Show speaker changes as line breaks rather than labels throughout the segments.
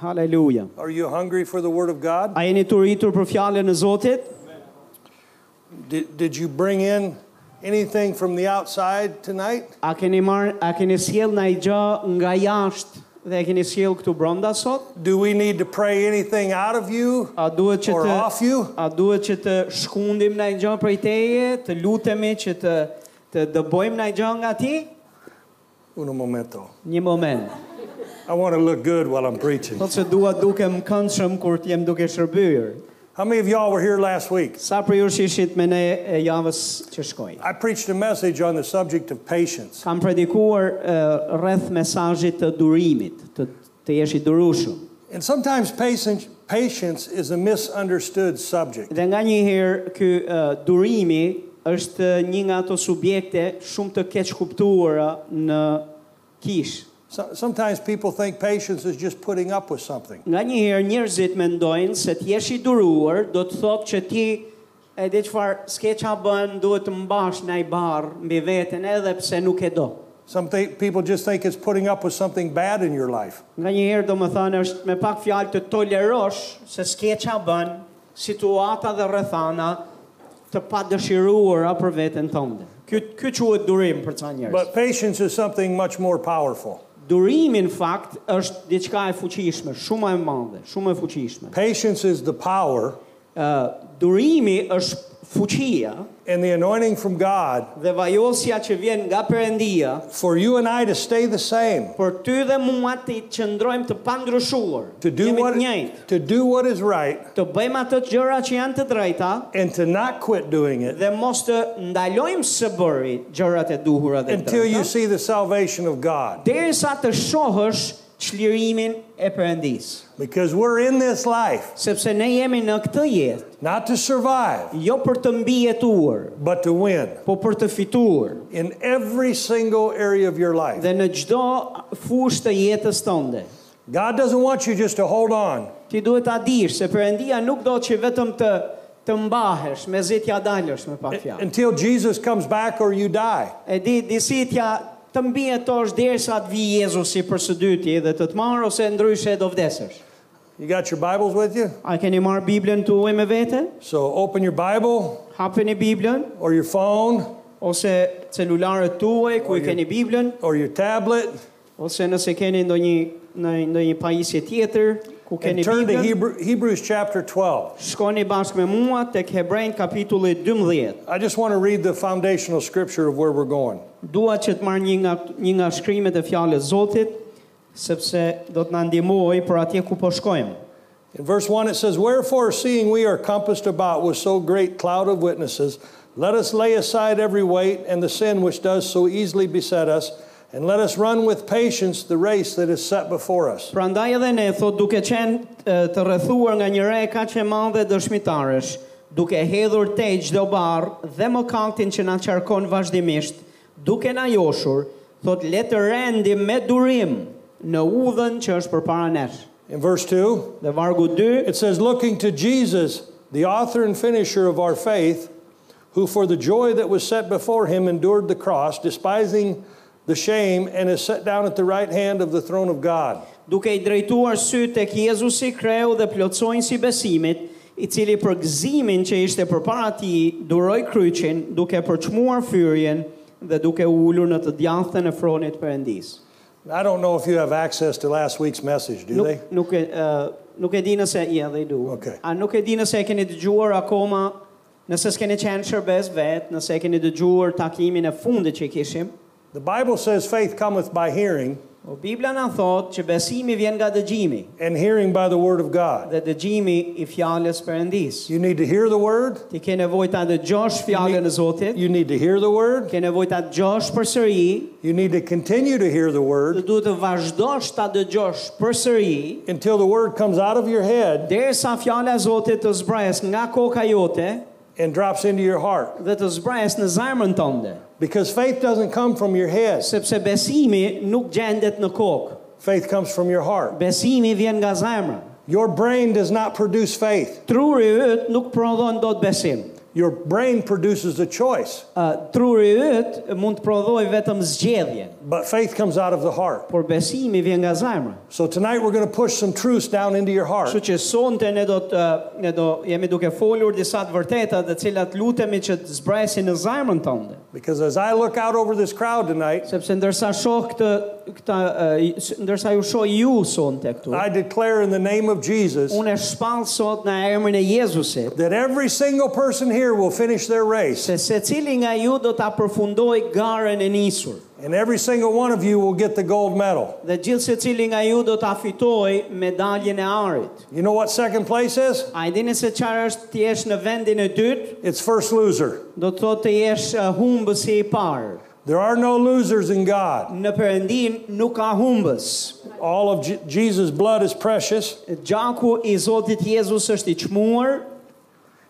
Haleluja.
Are you hungry for the Word of God?
A jeni të rritur për fjalën e Zotit?
Did, did you bring in anything from the outside tonight?
A keni marr, a keni sjell ndaj gjë nga jashtë dhe e keni sjell këtu brenda sot?
Do we need to pray anything out of you
A duhet që
or
të
off you?
a duhet që të shkundim ndaj gjë prej teje, të lutemi që të të dëbojmë ndaj gjë nga ti?
Uno momento.
Një moment.
I want to look good while I'm preaching.
Thot se dua dukem këndshëm kur të jem duke shërbyer.
How many of y'all were here last week?
Sa për ju shishit me ne e javës që shkoj?
I preached a message on the subject of patience.
Kam predikuar e, rreth mesazhit të durimit, të të jesh i durueshëm.
And sometimes patience, patience is a misunderstood subject.
Dhe nga një herë ky ë, durimi është një nga ato subjekte shumë të keq kuptuara në kish.
So, sometimes people think patience is just putting up with something.
Nga një herë njerëzit mendojnë se të jesh i duruar do të thotë që ti e di çfarë s'ke ça bën, duhet të mbash në i barë mbi veten edhe pse nuk e do.
Some th- people just think it's putting up with something bad in your life.
Nga një herë do më thënë është me pak fjalë të tolerosh se s'ke ça bën, situata dhe rrethana të pa dëshiruara për veten tënde. Ky ky quhet durim për ca njerëz.
But patience is something much more powerful.
Durimi në fakt është diçka e fuqishme, shumë e madhe, shumë e fuqishme.
Patience is the power
Ë durimi është fuqia
and the anointing from God
dhe vajosja që vjen nga Perëndia
for you and I to stay the same,
për ty dhe mua të qëndrojmë të pandryshuar,
to do
jemi
what
të njëjtë,
to do what is right
të bëjmë ato gjëra që janë të drejta
and to not quit doing it
dhe mos të ndalojmë së bëri gjërat e duhura dhe të
until you
drejta,
see the salvation of God.
derisa të shohësh çlirimin e Perëndis,
Because we're in this life
sepse ne jemi në këtë jetë
not to survive,
jo për të mbijetuar,
but to win
po për të fituar.
in every single area of your life.
dhe në gjdo fushë të jetës tënde.
God doesn't want you just to hold on.
Ti duhet ta dish se Perëndia nuk do që vetëm të të mbahesh, me zi t'ja dalësh me pak fjalë.
until Jesus comes back or you die.
E di disi t'ja të mbietosh derisa të vi Jezusi për së dyti dhe të të marr ose ndryshe do vdesësh.
You got your Bibles with you?
A keni marr Biblën tuaj me vete?
So open your Bible
Hapeni Biblën
or your phone
ose celularët tuaj ku i keni Biblën
or your tablet
ose nëse keni ndonjë në ndonjë pajisje tjetër ku
and
keni
turn to
Biblën.
Hebrew, Hebrews chapter 12.
Shkoni bashkë me mua tek Hebrejt kapitulli 12.
I just want to read the foundational scripture of where we're going.
Dua që të marr një nga një nga shkrimet e fjalës Zotit, sepse do të na ndihmojë për atje ku po shkojmë.
In verse 1, it says, Wherefore, seeing we are compassed about with so great cloud of witnesses, let us lay aside every weight and the sin which does so easily beset us, and let us run with patience the race that is set before us.
Prandaj edhe ne thot duke qenë e, të rrethuar nga një re kaq e madhe dëshmitaresh, duke hedhur te çdo barr dhe mëkatin që na qarkon vazhdimisht, duke na joshur, thot le të rendim me durim në udhën që është përpara nesh.
In verse 2,
Dhe vargu 2
It says, looking to Jesus, the author and finisher of our faith, who for the joy that was set before him endured the cross, despising the shame, and is set down at the right hand of the throne of God.
duke i drejtuar sy tek Jezusi kreu dhe plotësojnë si besimit, i cili për gëzimin që ishte përpara tij duroi kryqin, duke përçmuar fyrjen dhe duke u ulur në të djathtën e fronit Perëndis.
I don't know if you have access to last week's message, do they?
Nuk nuk e ë, nuk e di nëse ja they do.
Okay.
A nuk e di nëse e keni dëgjuar akoma, nëse s'keni qenë shërbes vet, nëse e keni dëgjuar takimin e fundit që i kishim.
The Bible says faith cometh by hearing,
O Bibla na thotë që besimi vjen nga dëgjimi
and hearing by the word of God.
dhe dëgjimi i fjalës Perëndis.
You need to hear the word,
Ti ke nevojë ta dëgjosh fjalën e Zotit,
you need to hear the word,
ke nevojë ta dëgjosh përsëri,
you need to continue to hear the
dhe
word
duhet të vazhdosh ta dëgjosh përsëri
until the word comes out of your head
derisa fjala e Zotit të zbres nga koka jote
and drops into your heart.
dhe të zbres në zemrën tënde,
Because faith doesn't come from your head.
sepse besimi nuk gjendet në kokë.
Faith comes from your heart.
Besimi vjen nga zemra.
Your brain does not produce faith.
Truri yt nuk prodhon dot besim.
Your brain produces a choice,
Ë, truri yt mund të prodhoj vetëm zgjedhjen,
but faith comes out of the heart.
por besimi vjen nga zemra.
So tonight we're going to push some truths down into your heart.
Kështu që sonte ne do të ë, ne do jemi duke folur disa të vërteta të cilat lutemi që të zbrasin në zemrën tënde.
Because as I look out over this crowd tonight,
Sepse ndërsa shoh këtë këta ë, i- s- ndërsa ju shoh ju sonte këtu.
I declare in the name of Jesus
Unë e shpall sot në emrin e Jezusit
that every single person here will finish their race,
se se cili nga ju do ta përfundoj garën e nisur
and every single one of you will get the gold medal.
dhe gjithë se cili nga ju do ta fitoj medaljen e arit.
You know what second place is?
A i dini se qarë është të jesh në vendin e dytë,
It's first loser.
do të thotë të jesh uh, humbës i parë.
There are no losers in God.
Në përëndin nuk ka humbës.
All of Je- Jesus' blood is precious.
Gjaku i Zotit Jezus është i çmuar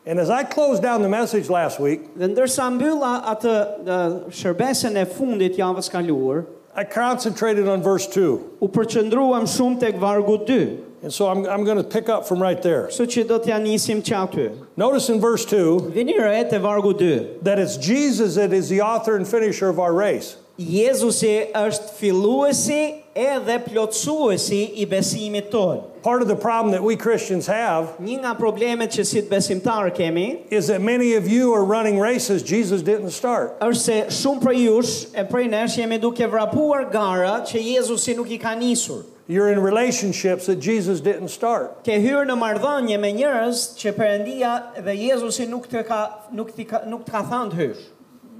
And as I closed down the message last week,
dhe ndërsa mbylla atë uh, shërbesën e fundit javës kaluar,
I concentrated on verse 2.
u përqëndruam shumë tek vargu 2,
And so I'm, I'm going to pick up from right there.
kështu që do t'ja nisim që aty.
Notice in verse 2
Vini re te vargu 2.
that it's Jesus that is the author and finisher of our race.
Jezusi është filluesi edhe plotësuesi i besimit tonë.
Part of the problem that we Christians have
Një nga problemet që si të besimtarë kemi
is that many of you are running races Jesus didn't start.
është se shumë prej jush e prej nesh jemi duke vrapuar gara që Jezusi nuk i ka nisur.
You're in relationships that Jesus didn't start.
Ke hyrë në marrëdhënie me njerëz që Perëndia dhe Jezusi nuk të ka nuk të ka nuk të ka thënë të hysh.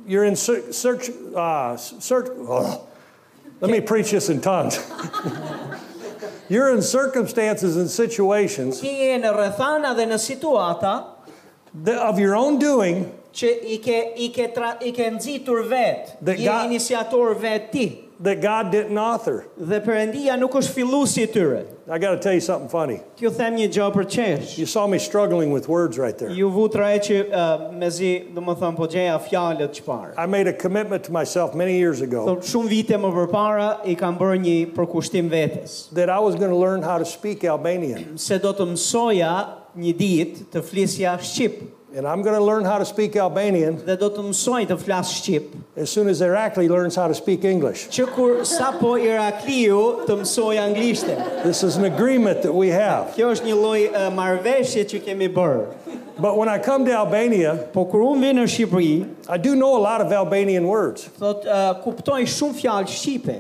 You're in search, search, uh, search oh, let me preach this in tongues. You're in circumstances and situations
Ti je në rrethana dhe në situata
that of your own doing
që i ke i ke tra, i ke nxitur vet,
Dhe
je
ga-
iniciator vet ti
that God didn't author.
dhe Perëndia nuk është filluesi i tyre.
I got to tell you something funny.
T'ju them një gjë për qesh.
You saw me struggling with words right there.
Ju vutra e që uh, mezi, do më thëmë, po gjeja fjalët që parë.
I made a commitment to myself many years ago
Thot, shumë vite më përpara i kam bërë një përkushtim vetes
that I was going to learn how to speak Albanian.
se do të mësoja një ditë të flisja shqip
And I'm going to learn how to speak Albanian
dhe do të mësoj të flas shqip
as soon as Irakli learns how to speak English.
që kur sapo Irakliu të mësoj anglishten.
This is an agreement that we have.
Kjo është një lloj e, marrëveshje që kemi bërë.
But when I come to Albania,
Po kur unë vi në Shqipëri,
I do know a lot of Albanian words.
thot e, kuptoj shumë fjalë shqipe.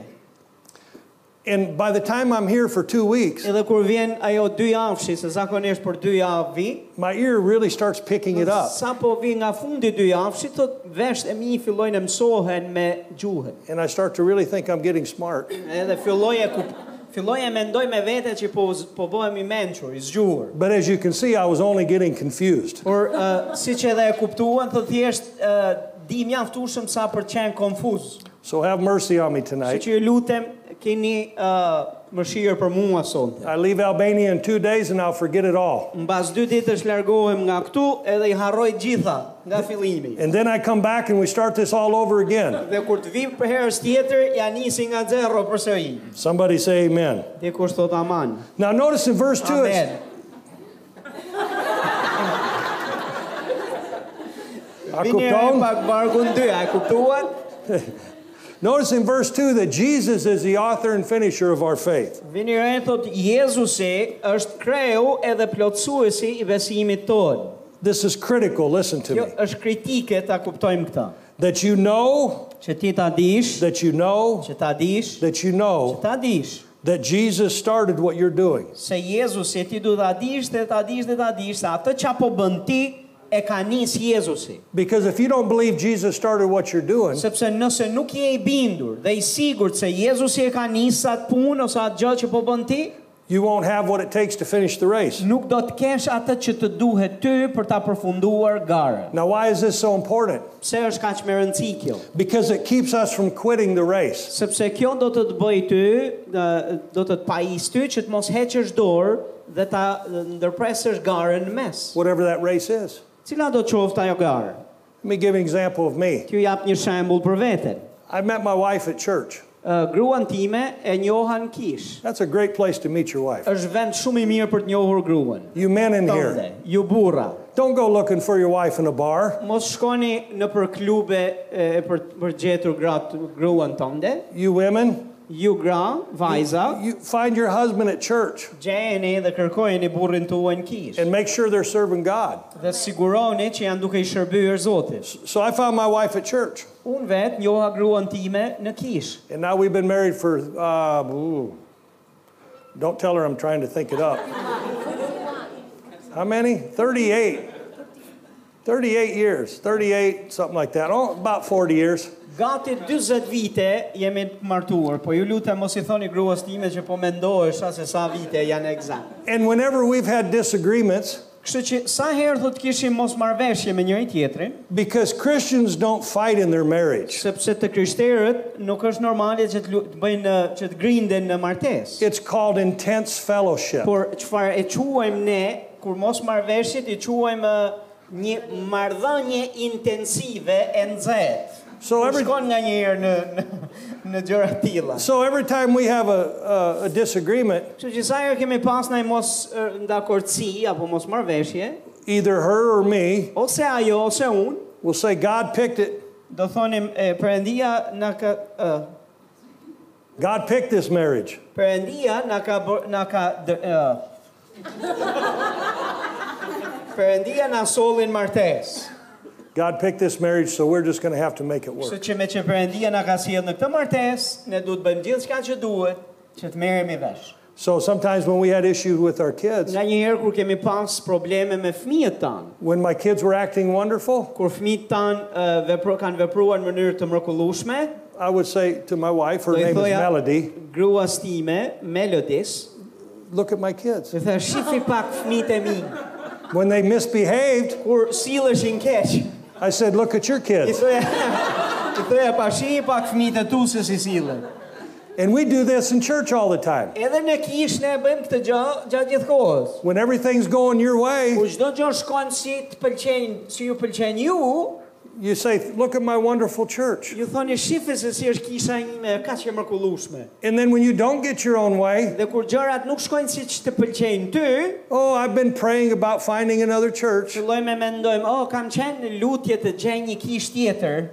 And by the time I'm here for two weeks,
Edhe kur vjen ajo dy javëshi, se zakonisht për dy javë vi,
my ear really starts picking it up.
sapo vi nga fundi dy javëshi, thot vesh e mi fillojnë të mësohen me gjuhën.
And I start to really think I'm getting smart.
Edhe filloj e kup, filloj e mendoj me vete që po z- po bëhem i mençur, i zgjuar.
But as you can see, I was only getting confused.
Por uh, siç edhe e kuptuan, thotë thjesht uh, di mjaftueshëm sa për të qenë konfuz.
So have mercy on me
Kështu
tonight.
që ju lutem keni uh, mëshirë për mua sonte.
I leave Albania in two days and I'll forget it all.
Mbas dy ditësh largohem nga këtu edhe i harroj gjitha nga fillimi.
And then I come back and we start this all over again.
Dhe kur të vi për herës tjetër, ja nisi nga zero përsëri.
Somebody say amen.
Dhe kush thot aman.
Now notice in verse 2,
Amen.
it's- I
Vini
kupton?
e pak vargun 2, a e kuptuan?
notice in verse 2 that Jesus is the author and finisher of our faith.
Vini re thot Jezusi është kreu edhe plotësuesi i besimit tonë.
This is critical, listen to
Kjo
me.
është kritike ta kuptojmë këtë.
That you know,
Që ti ta dish,
that you know,
që ta dish,
that you know
ta dish
that Jesus started what you're doing.
se Jezusi ti du ta dish dhe ta dish dhe ta dish se atë çka po bën ti e ka nis Jezusi.
Because if you don't believe Jesus started what you're doing,
Sepse nëse nuk je i bindur dhe i sigurt se Jezusi e ka nis atë punë ose atë gjë që po bën ti,
you won't have what it takes to finish the race.
nuk do të kesh atë që të duhet ty për ta përfunduar garën.
Now, why is this so important?
Pse është kaq me rëndësi kjo?
Because it keeps us from quitting the race.
Sepse kjo do të të bëj ty, ë, do të të pajis ty që të mos heqësh dorë dhe ta ë, ndërpresësh garën në mes.
whatever that race is.
Cila do qoftë ajo garë?
Let me give you an example of me.
T'ju jap një shembull për veten.
I met my wife at church.
ë, gruan time e njohan kish.
That's a great place to meet your wife.
është vend shumë i mirë për të njohur gruan.
You men in
Tande,
here,
ju burra,
don't go looking for your wife in a bar.
mos shkoni në për klube e për për gjetur gratë gruan tënde.
You women,
Ju gra, vajza,
you find your husband at church
gjeni dhe kërkojeni burrin tuaj në kish.
and make sure they're serving God.
Dhe siguroni që janë duke i shërbyer Zotit.
So I found my wife at church,
Unë vetë njoha gruan time në kish.
and now we've been married for, uh, ooh, don't tell her I'm trying to think it up. How many? 38. 38 years, 38, something like that. Oh, about 40 years.
Gati 40 vite jemi martuar, po ju lutem mos i thoni gruas time që po mendohesha se sa vite janë eksakt.
And whenever we've had disagreements,
Kështu që sa herë thot kishim mos marrveshje me njëri tjetrin,
Because Christians don't fight in their marriage.
sepse të krishterët nuk është normale që të, lu- të bëjnë uh, që të grinden në martesë.
It's called intense fellowship.
Por çfarë e quajmë ne kur mos marrveshjet i quajmë uh, një marrëdhënie intensive e nxehtë.
So
So
every-
shkon nga një herë në në, në gjëra të tilla.
So every time we have a, a, a disagreement,
Kështu që sa herë kemi pas ndaj mos eh, ndakordsi apo mos marrveshje,
either her or me
ose ajo ose unë,
will say, God picked it.
do thonim e Perëndia na ka uh,
God picked this marriage.
Perëndia na ka bër- na ka dë- eh. Perëndia na sollin martesë.
God picked this marriage, so we're just going to have to make it
Kështu
work.
që me që Perëndia na ka sjellë në këtë martesë, ne duhet bëjmë gjithçka që duhet që të merremi vesh.
So sometimes when we had issues with our kids,
Nga një herë kur kemi pas probleme me fëmijët tanë,
when my kids were acting wonderful,
kur fëmijët tanë eh, vepro, kanë vepruar në mënyrë të mrekullueshme,
I would say to my wife, her
Do i
name is
thoja-
Melody,
gruas time, Melodis,
look at my kids.
dhe thë shifi pak fëmijët e mi,
When they misbehaved,
kur silleshin keq.
I said, look at your
I
kids.
thoja, i thoja pa shihi pak fëmijët e tu se si sillen.
And we do this in church all the time.
Edhe në kish ne e bëjmë këtë gjë gjatë gjithë kohës.
When everything's going your way,
Kur çdo gjë shkon si të pëlqen, si ju pëlqen ju,
You say, look at my wonderful church.
ju thoni shifi se si është kisha ime kaq e mrekullueshme.
And then when you don't get your own way,
Dhe kur gjërat nuk shkojnë siç të pëlqejnë ty,
oh, I've been praying about finding another church.
fillojmë e mendojmë, "Oh, kam qenë në lutje të gjej një kish tjetër."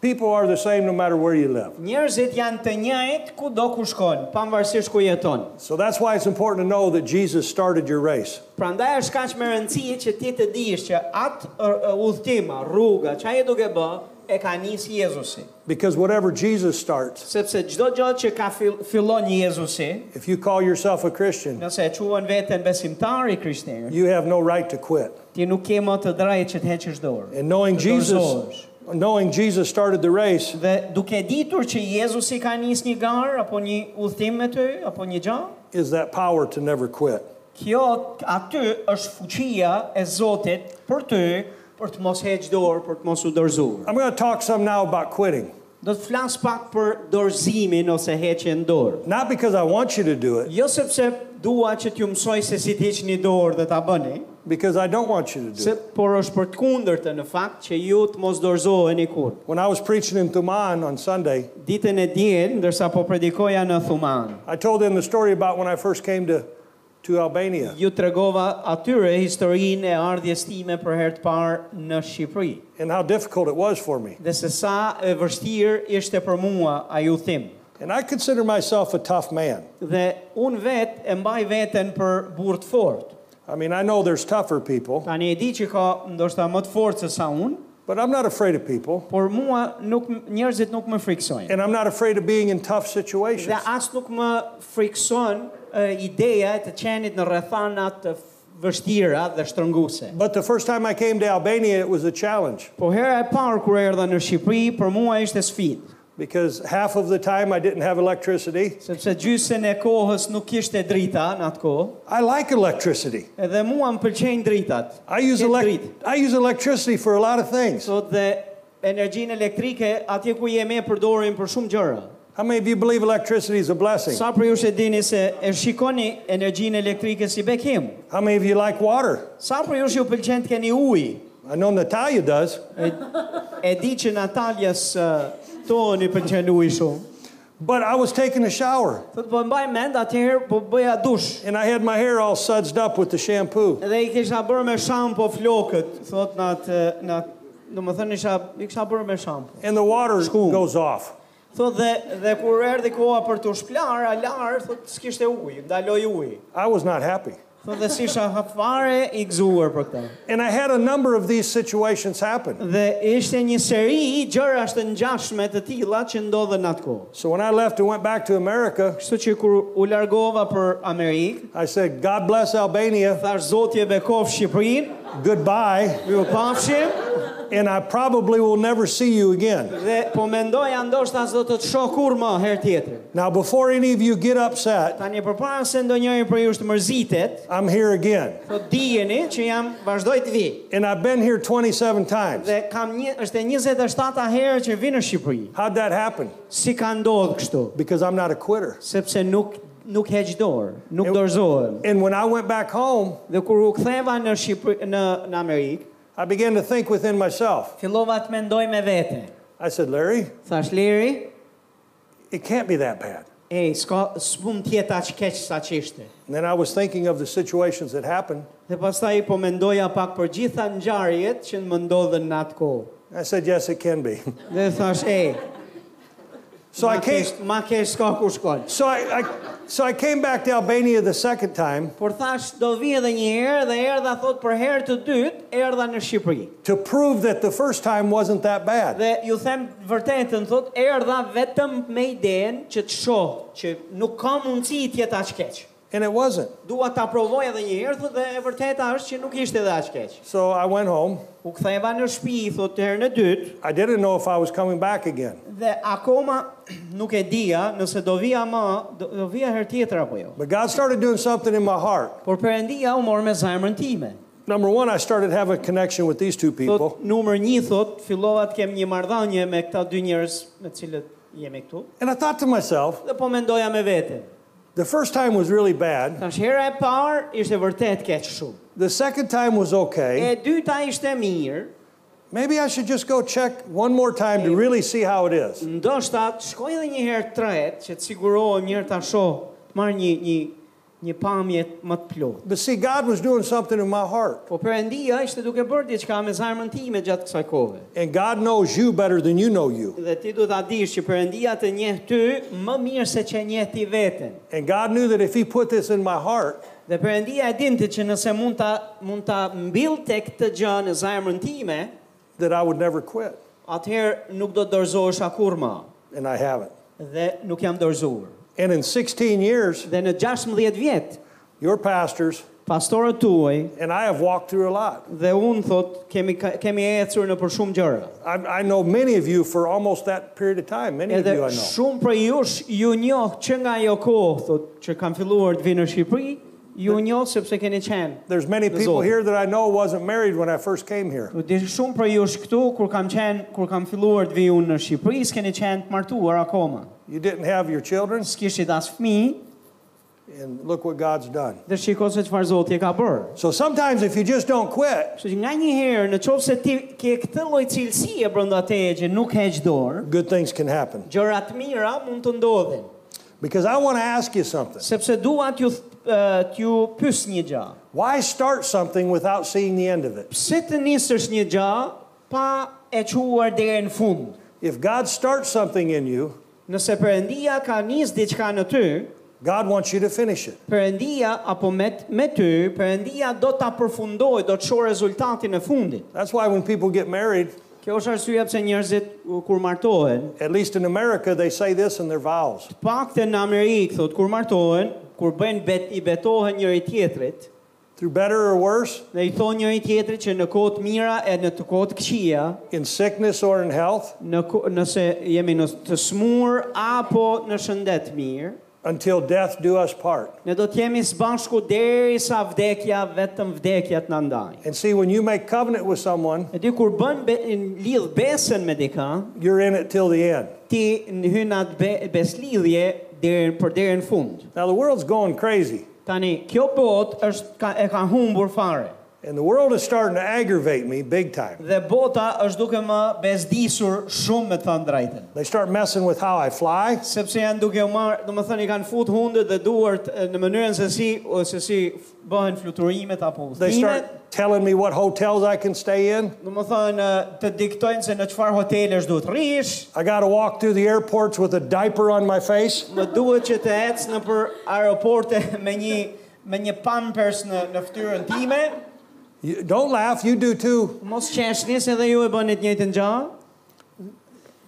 People are the same no matter where you live.
Njerëzit janë të njëjtë kudo ku shkon, pavarësisht ku jeton.
So that's why it's important to know that Jesus started your race.
Prandaj është kaq më rëndësi që ti të dish që atë ë, ë, udhëtima, rruga, çfarë je duke bë, e ka nisë Jezusi.
Because whatever Jesus starts,
Sepse çdo gjë që ka fill, fillon Jezusi,
if you call yourself a Christian,
nëse e quan veten besimtar i krishterë,
you have no right to quit.
ti nuk ke më të drejtë që të heqësh dorë.
And knowing
të
Jesus,
dorëzohesh.
knowing Jesus started the race,
Dhe duke ditur që Jezusi ka nisë një garë apo një udhtim me ty apo një gjë,
is that power to never quit.
kjo aty është fuqia e Zotit për ty për të mos heqë dorë, për të mos u dorëzuar.
I'm going to talk some now about quitting.
Do të flas pak për dorëzimin ose heqjen dorë.
Not because I want you to do it,
Jo sepse dua që t'ju mësoj se si të heqni dorë dhe ta bëni,
because I don't want you to do
se
it.
por është për të kundërtën në fakt që ju të mos dorëzoheni kur.
When I was preaching in Tuman on Sunday,
Ditën e diel, ndërsa po predikoja në Thuman,
I told them the story about when I first came to, to Albania.
ju tregova atyre historinë e ardhjes time për herë të parë në Shqipëri
and how difficult it was for me.
dhe se sa e vështirë ishte për mua ai udhtim.
And I consider myself a tough man.
Dhe unë vetë e mbaj veten për burr të fortë.
I mean, I know there's tougher people,
Tani e di që ka ndoshta më të fortë se sa unë,
but I'm not afraid of people,
por mua nuk njerëzit nuk më friksojnë.
and I'm not afraid of being in tough situations.
Dhe as nuk më frikson e, ideja e të qenit në rrethana të f- vështira dhe shtrënguese.
But the first time I came to Albania, it was a challenge
Po hera e parë kur erdha në Shqipëri, për mua ishte sfidë,
because half of the time I didn't have electricity.
sepse gjysën e kohës nuk kishte drita në atë kohë,
I like electricity.
edhe mua më pëlqejnë dritat.
I use,
Ket
elec
dritë.
I use electricity for a lot of things.
Sot dhe energjinë elektrike atje ku jemi e përdorim për shumë gjëra.
How many of you believe electricity is a blessing?
Sa për ju e dini se e shikoni energjinë elektrike si bekim?
How many of you like water?
Sa për ju ju pëlqen të keni ujë?
I know Natalia does.
E di që Nataljas uh, toni pëlqen uji shumë.
But I was taking a shower
Thot po mbaj mend atëherë po bëja dush.
and I had my hair all sudsed up with the shampoo.
Dhe i kisha bërë me shampo flokët, thot në atë në atë- do më thënë isha i kisha bërë me shampo.
And the water
School.
goes off.
Thot dhe dhe kur erdhi koha për të shplar, alar, thot s'kishte ujë, ndaloi uji.
I was not happy.
Thot dhe si isha hapfare i gëzuar për këtë.
And I had a number of these situations happen.
Dhe ishte një seri gjërash të ngjashme të tilla që ndodhen atkohë.
So when I left and went back to America,
Kështu që kur u largova për Amerikë,
I said, God bless Albania,
thash Zoti e bekof Shqipërinë,
goodbye,
ju pafshim
and I probably will never see you again.
dhe po mendoja ndoshta s'do të të shoh kur më herë tjetër.
Now, before any of you get upset,
Tani përpara se ndonjëri për ju të mërzitet,
I'm here again.
thot dijeni që jam vazhdoj të vi.
And I've been here 27 times.
Dhe kam një është e 27-ta herë që vi në Shqipëri.
How'd that happen?
Si ka ndodhur kështu?
Because I'm not a quitter.
Sepse nuk nuk heq dorë, nuk dorëzohem.
And when I went back home,
Dhe kur u ktheva në Shqipëri në në Amerikë,
I began to think within myself.
fillova të mendoj me vete.
I said, Larry,
Thash Leri,
it can't be that bad.
ej, s'ka s'pun tjeta që keq sa që ishte.
And then I was thinking of the situations that happened.
Dhe pastaj po mendoja pak për gjitha ngjarjet që më ndodhen në atë kohë.
I said, yes, it can be.
Dhe thash, ej,
So I
ma keq,
came,
ma keq s'ka ku shkon.
so I, I, so I came back to Albania the second time
Por thash do vi edhe një herë dhe erdha thot për herë të dytë, erdha në Shqipëri.
to prove that the first time wasn't that bad.
Dhe ju them vërtetën thot erdha vetëm me idenë që të shoh që nuk ka mundësi të jetë aq keq.
And it wasn't.
Dua ta provoj edhe një herë thot dhe e vërteta është që nuk ishte edhe aq keq.
So I went home.
U ktheva në shtëpi thot herën e dytë
I didn't know if I was coming back again.
dhe akoma nuk e dija nëse do vija më, do, do vija herë tjetër apo jo.
But God started doing something in my heart.
Por Perëndia u mor me zemrën time.
Number one, I started having a connection with these two
Thot
people.
numër 1 thot fillova të kem një marrëdhënie me këta dy njerëz me të cilët jemi këtu.
And I thought to myself,
Dhe po mendoja me veten.
the first time was really bad.
Tash hera e parë ishte vërtet keq shumë.
The second time was
E
okay.
dyta ishte mirë.
Maybe I should just go check one more time to really see how it is.
Ndoshta të shkoj edhe një herë tretë që të sigurohem një herë ta shoh, të marr një një një pamje më të plotë.
But see, God was doing something in my heart.
Po Perëndia ishte duke bërë diçka me zemrën time gjatë kësaj kohe.
And God knows you better than you know you.
Dhe ti duhet ta dish që Perëndia të njeh ty më mirë se që njeh ti veten.
And God knew that if He put this in my heart,
Dhe Perëndia e dinte që nëse mund ta mund ta mbillte këtë gjë në zemrën time,
that I would never quit.
atëherë nuk do të dorëzohesha kurrë më.
And I haven't.
Dhe nuk jam dorëzuar.
And in 16 years,
Dhe në 16 vjet,
your pastors
pastorët tuaj
and I have walked through a lot.
dhe unë thot kemi ka- kemi ecur në për shumë gjëra.
I, I know many of you for almost that period of time. Many of
Edhe
you I know.
shumë prej jush ju njoh që nga ajo kohë thot që kanë filluar të vinë në Shqipëri, ju njoh sepse keni qenë.
There's many people
Lord.
here that I know wasn't married when I first came here.
U di shumë prej jush këtu kur kam qenë kur kam filluar të vi unë në Shqipëri, s'keni qenë të martuar akoma.
You didn't have your children,
S'kishit as fëmijë
and look what God's done.
dhe shiko se çfarë Zoti e ka bërë.
So sometimes if you just don't quit,
Kështu që nga një herë, në qovë se ti ke këtë lloj cilësie brenda teje që nuk heq dorë,
good things can happen.
gjëra të mira mund të ndodhin.
Because I want to ask you something.
Sepse dua t'ju th- eh, t'ju pyes një gjë.
Why start something without seeing the end of it?
Pse të nisësh një gjë pa e quar deri në fund?
If God starts something in you,
Nëse Perëndia ka nis diçka në ty,
God wants you to finish it.
Perëndia apo me me ty, Perëndia do ta përfundojë, do të shohë rezultatin e fundit.
That's why when people get married,
Kjo është arsyeja pse njerëzit u, kur martohen,
at least in America, they say this in their vows.
paktën në Amerikë thotë kur martohen, kur bëjnë bet i betohen njëri tjetrit,
Through better or worse,
Dhe i thonë njëri tjetrit që në kohë të mira e në të kohë të këqija,
in sickness or in health,
në ko- nëse jemi në të smur apo në shëndet mirë,
until death do us part.
ne do të jemi së bashku deri sa vdekja vetëm vdekja të na ndajë.
And see, when you make covenant with someone,
E di kur bën be, n- lidh besën me dika,
you're in it till the end.
ti në hyn atë be, beslidhje deri për deri në fund.
Now, the world's going crazy.
Tani, kjo botë është ka, e ka humbur fare.
And the world is starting to aggravate me big time.
Dhe bota është duke më bezdisur shumë me të thënë drejtën.
They start messing with how I fly.
Sepse janë duke u marrë, do më thënë i kanë fut hundët dhe duart e, në mënyrën se si, ose si f- bëhen fluturimet apo
They
udhëtimet.
start telling me what hotels I can stay in.
Do më thënë e, të diktojnë se në qëfar hotelesh duhet rrish,
I got to walk through the airports with a diaper on my face.
më duhet që të ecë në për aeroporte me një, me një pampers në, në ftyrën time.
You, don't laugh, you do too.
Mos qeshni se dhe ju e bëni të njëjtën gjë.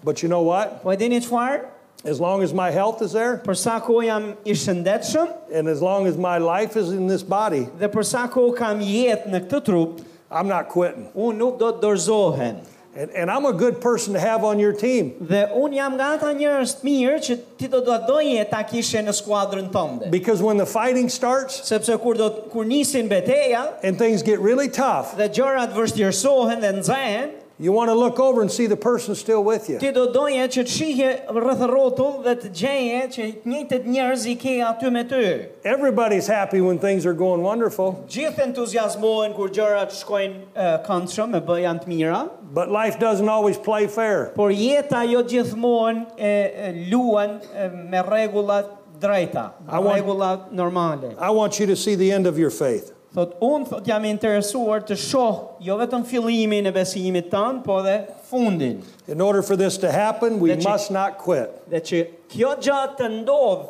But you know what?
Po e dini çfarë?
As long as my health is there
Për sa kohë jam i shëndetshëm
and as long as my life is in this body,
dhe për sa kohë kam jetë në këtë trup,
I'm not quitting.
unë nuk do të dorëzohem.
And, and I'm a good person to have on your team
Dhe unë jam nga ata njerëz të mirë që ti do të doje ta kishe në skuadrën tënde.
because when the fighting starts
Sepse kur do kur nisin betejë
and things get really tough,
dhe gjërat vështirësohen dhe nxehen,
you want to look over and see the person still with you.
ti do doje që të shihje rreth rrotull dhe të gjeje që të njëjtët njerëz i ke aty me ty.
Everybody's happy when things are going wonderful,
Gjithë entuziazmohen kur gjërat shkojnë uh, këndshëm e bë janë të mira,
but life doesn't always play fair.
por jeta jo gjithmonë e, e luan e, me rregulla drejta,
I want-
rregulla normale.
I want you to see the end of your faith.
Thot, unë thot, jam interesuar të shoh jo vetëm fillimin e besimit tënë, po dhe fundin.
In order for this to happen, we
That you-
must not quit.
Dhe që kjo gjatë të ndodh,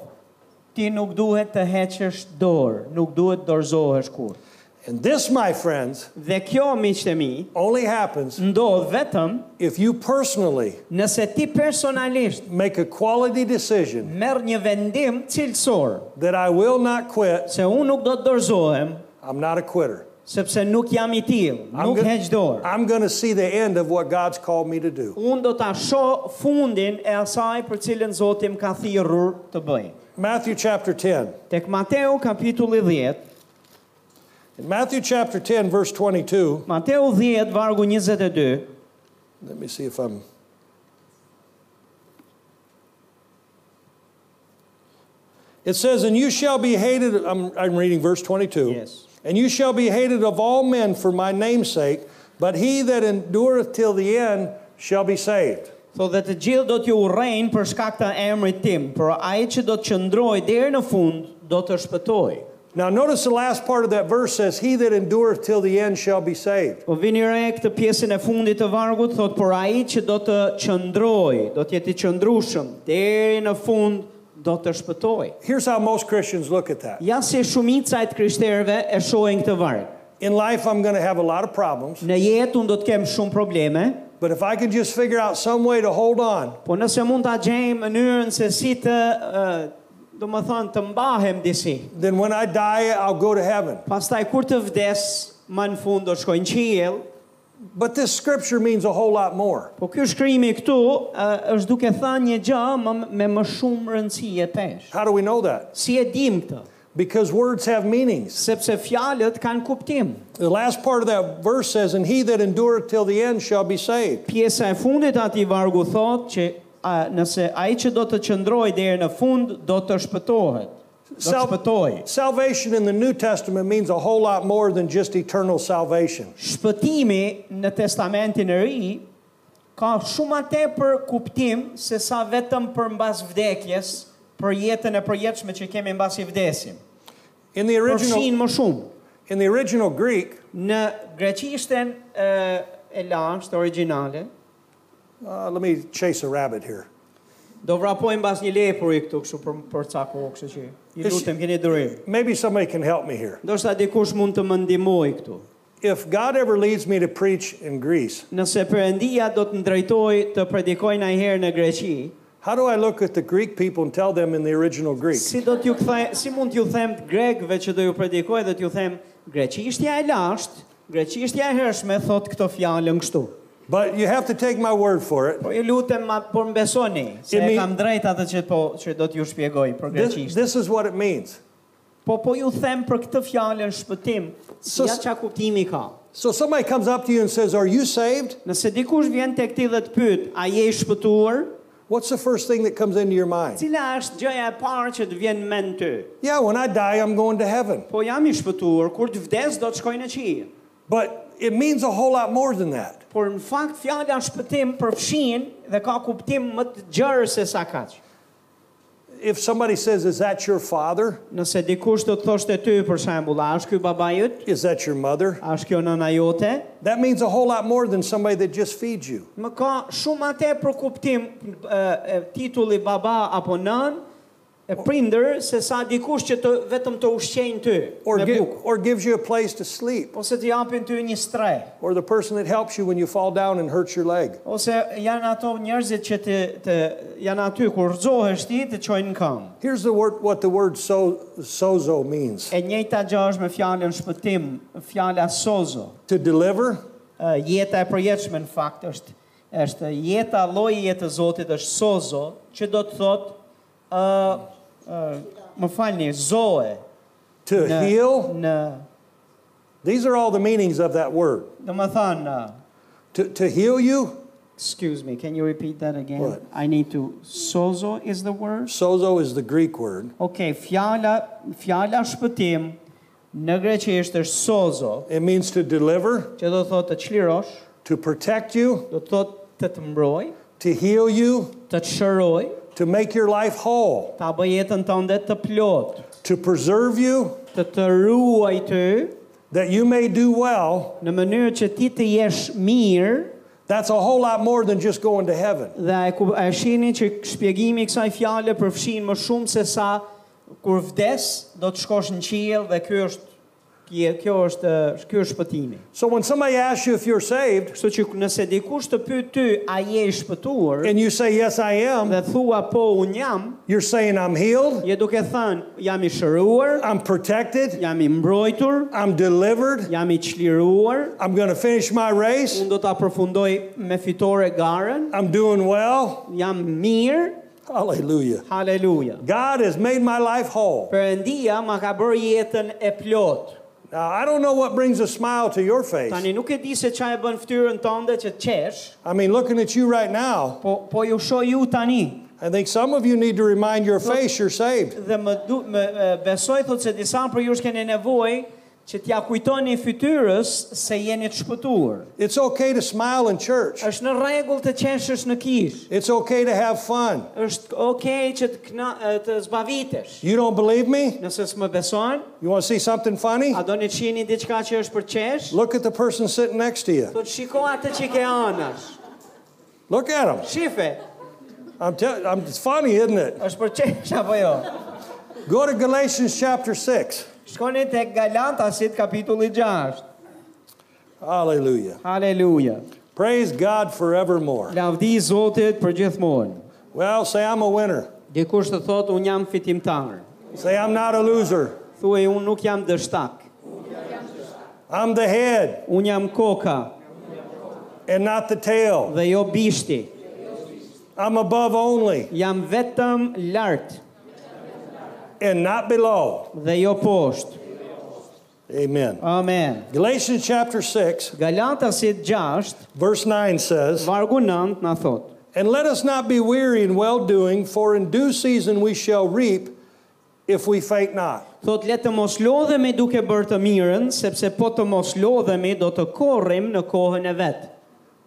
ti nuk duhet të heqësh dorë, nuk duhet dorëzohesh kur.
And this, my friends,
Dhe kjo, miqtë e mi,
only happens
ndodh vetëm
if you personally
nëse ti personalisht
make a quality decision
merr një vendim cilësor,
that I will not quit.
se unë nuk do të dorëzohem,
I'm not a quitter.
sepse nuk jam i tillë,
I'm
nuk heq dorë.
I'm going to see the end of what God's called me to do.
Unë do ta shoh fundin e asaj për cilën Zoti më ka thirrur të bëj.
Matthew chapter 10.
Tek Mateu kapitulli 10,
In Matthew chapter 10, verse 22,
Mateu 10 vargu 22,
let me see if I'm. It says, And you shall be hated. I'm, I'm reading verse 22.
Yes.
And you shall be hated of all men for my name's sake, but he that endureth till the end shall be saved.
thotë dhe të gjithë do t'ju urrejnë për shkak të emrit tim, por ai që do të qëndrojë deri në fund do të shpëtojë.
Now, notice the last part of that verse says, He that endureth till the end shall be saved.
Po vini re këtë pjesën e fundit të vargut, thotë por ai që do të qëndrojë, do të jetë i qëndrueshëm deri në fund do të shpëtojë.
Here's how most Christians look at that.
Ja si shumica e të krishterëve e shohin këtë varg.
In life, I'm going to have a lot of problems,
Në jetë unë do të kem shumë probleme,
but if I can just figure out some way to hold on,
po nëse mund ta gjej mënyrën se si të ë, do më thënë të mbahem disi.
then when I die, I'll go to heaven.
Pastaj kur të vdes, më në fund do shkojnë qiell,
But this scripture means a whole lot more.
po ky shkrimi këtu ë, është duke thënë një gjë më, me më shumë rëndësi e pesh.
How do we know that?
Si e dim këtë?
Because words have meanings.
Sepse fjalët kanë kuptim.
The last part of that verse says, And he that endureth till the end shall be saved.
Pjesa e fundit e atij vargu thotë që a, nëse ai që do të qëndrojë deri në fund do të shpëtohet. Do të
Sal-
shpëtojë.
Salvation in the New Testament means a whole lot more than just eternal salvation.
Shpëtimi në Testamentin e Ri ka shumë më tepër kuptim se sa vetëm për mbas vdekjes, për jetën e përjetshme që kemi mbas i vdesim.
In the original,
Përfshin më shumë.
in the original Greek,
Në greqishten e, e lashtë, originale,
uh, let me chase a rabbit here.
do vrapojmë mbas një lepuri këtu kështu për, për ca kohë, kështu që i
Ish-
lutem keni durim.
Maybe somebody can help me here.
Ndoshta dikush mund të më ndihmojë këtu.
If God ever leads me to preach in Greece,
Nëse Perëndia do të ndrejtoj të predikoj ndajherë në Greqi,
how do I look at the Greek people and tell them in the original Greek?
Si do t'ju kthej, si mund t'ju them grekëve që do ju predikoj dhe t'ju them greqishtja e lashtë, greqishtja e hershme thot këto fjalën kështu.
But you have to take my word for it.
Po ju lutem ma por mbesoni se
Jemi-
e kam drejt atë që po që do t'ju shpjegoj për
This,
greqisht.
this is what it means.
Po po ju them për këtë fjalën shpëtim,
So-
si ja çka kuptimi ka.
So somebody comes up to you and says, Are you saved?
Nëse dikush vjen tek ti dhe të pyet, a je i shpëtuar?
What's the first thing that comes into your mind?
Cila është gjëja e parë që të vjen në mend ty?
Yeah, when I die, I'm going to heaven.
Po jam i shpëtuar, kur të vdes do të shkoj në qiell.
But it means a whole lot more than that.
Por në fakt fjala shpëtim përfshin dhe ka kuptim më të gjerë se sa kaq.
If somebody says, Is that your father?
Nëse dikush do të thoshte ty për shembull, a është ky baba yt?
Is that your mother?
A është kjo nëna jote?
That means a whole lot more than somebody that just feeds you.
Më ka shumë atë për kuptim e, e, titulli baba apo nën, e prindër se sa dikush që të vetëm të ushqejnë ty
Or,
me
gi-
bukë
or gives you a place to sleep.
ose të japin ty një stre.
Or the person that helps you when you fall down and hurts your leg.
Ose janë ato njerëzit që të, të janë aty kur rëzohesh ti të çojnë në këmbë.
Here's the word, what the word so, sozo means
E njëjta gjë është me fjalën shpëtim, fjala sozo.
to deliver,
Ë, Jeta e përjetshme në fakt është është jeta lloji i jetës Zotit është sozo, që do të thotë ë ë më falni, zoe
to
në
heal.
në
These are all the meanings of that word.
do të thonë ë,
To, to heal you,
Excuse me, can you repeat that again?
What?
I need to sozo is the word.
sozo is the Greek word.
Okay, fjala fjala shpëtim në greqisht është sozo,
It means to deliver,
që do të thotë të çlirosh,
to protect you,
do të thotë të të mbroj,
to heal you,
të të shëroj,
to make your life whole,
ta bëj jetën tënde të plot,
to preserve you,
të të ruaj ty
that you may do well.
në mënyrë që ti të jesh mirë
That's a whole lot more than just going to heaven.
dhe e, ku- e shihni që shpjegimi i kësaj fjale përfshin më shumë se sa kur vdes do të shkosh në qiell dhe ky është pje- kjo është ë, ky është shpëtimi.
So when somebody asks you if you're saved
Kështu që nëse dikush të pyet ty, a je i shpëtuar?
and you say, Yes, I am,
Dhe thua po un jam,
you're saying, I'm healed,
je duke thënë jam i shëruar,
I'm protected,
jam i mbrojtur,
I'm delivered,
jam i çliruar,
I'm going to finish my race,
unë do ta përfundoj me fitore garën,
I'm doing well.
jam mirë,
Hallelujah.
haleluja.
God has made my life whole.
Perëndia ma ka bërë jetën e plot.
Now, I don't know what brings a smile to your face.
Tani nuk e di se çfarë e bën fytyrën tënde që të qesh,
I mean, looking at you right now,
po po ju shoh ju tani.
I think some of you need to remind your face you're saved.
Dhe më, du, më e, besoj thotë se disa për ju keni nevojë që t'ja kujtoni fytyrës se jeni të shpëtuar.
It's okay to smile in church.
Është në rregull të qeshësh në kish.
It's okay to have fun.
Është okay që të kna, e, të zbavitesh.
You don't believe me?
Nëse s'më beson,
You want to see something funny?
a doni të shihni diçka që është për qesh?
Look at the person sitting next to you.
Thotë shiko atë që ke anash.
Look at them.
Shife,
I'm tell- I'm, it's funny, isn't it?
është për qesh apo jo?
Go to Galatians chapter 6.
Shkoni tek Galatasit kapitulli 6.
Hallelujah.
Haleluja.
Praise God forevermore.
Lavdi Zotit për gjithmonë.
Well, say I'm a winner.
Dikush të thotë un jam fitimtar.
Say I'm not a loser.
Thuaj un nuk jam dështak.
I'm the head
Un jam koka
and not the tail.
dhe jo bishti.
I'm above only
Jam vetëm lart
and not below.
dhe jo poshtë.
Amen.
Amen.
Galatians chapter 6,
Galatasit 6,
verse 9 says,
vargu 9 na thot.
And let us not be weary in well doing, for in due season we shall reap if we faint not.
Thot le të mos lodhemi duke bërë të mirën, sepse po të mos lodhemi do të korrim në kohën e vet.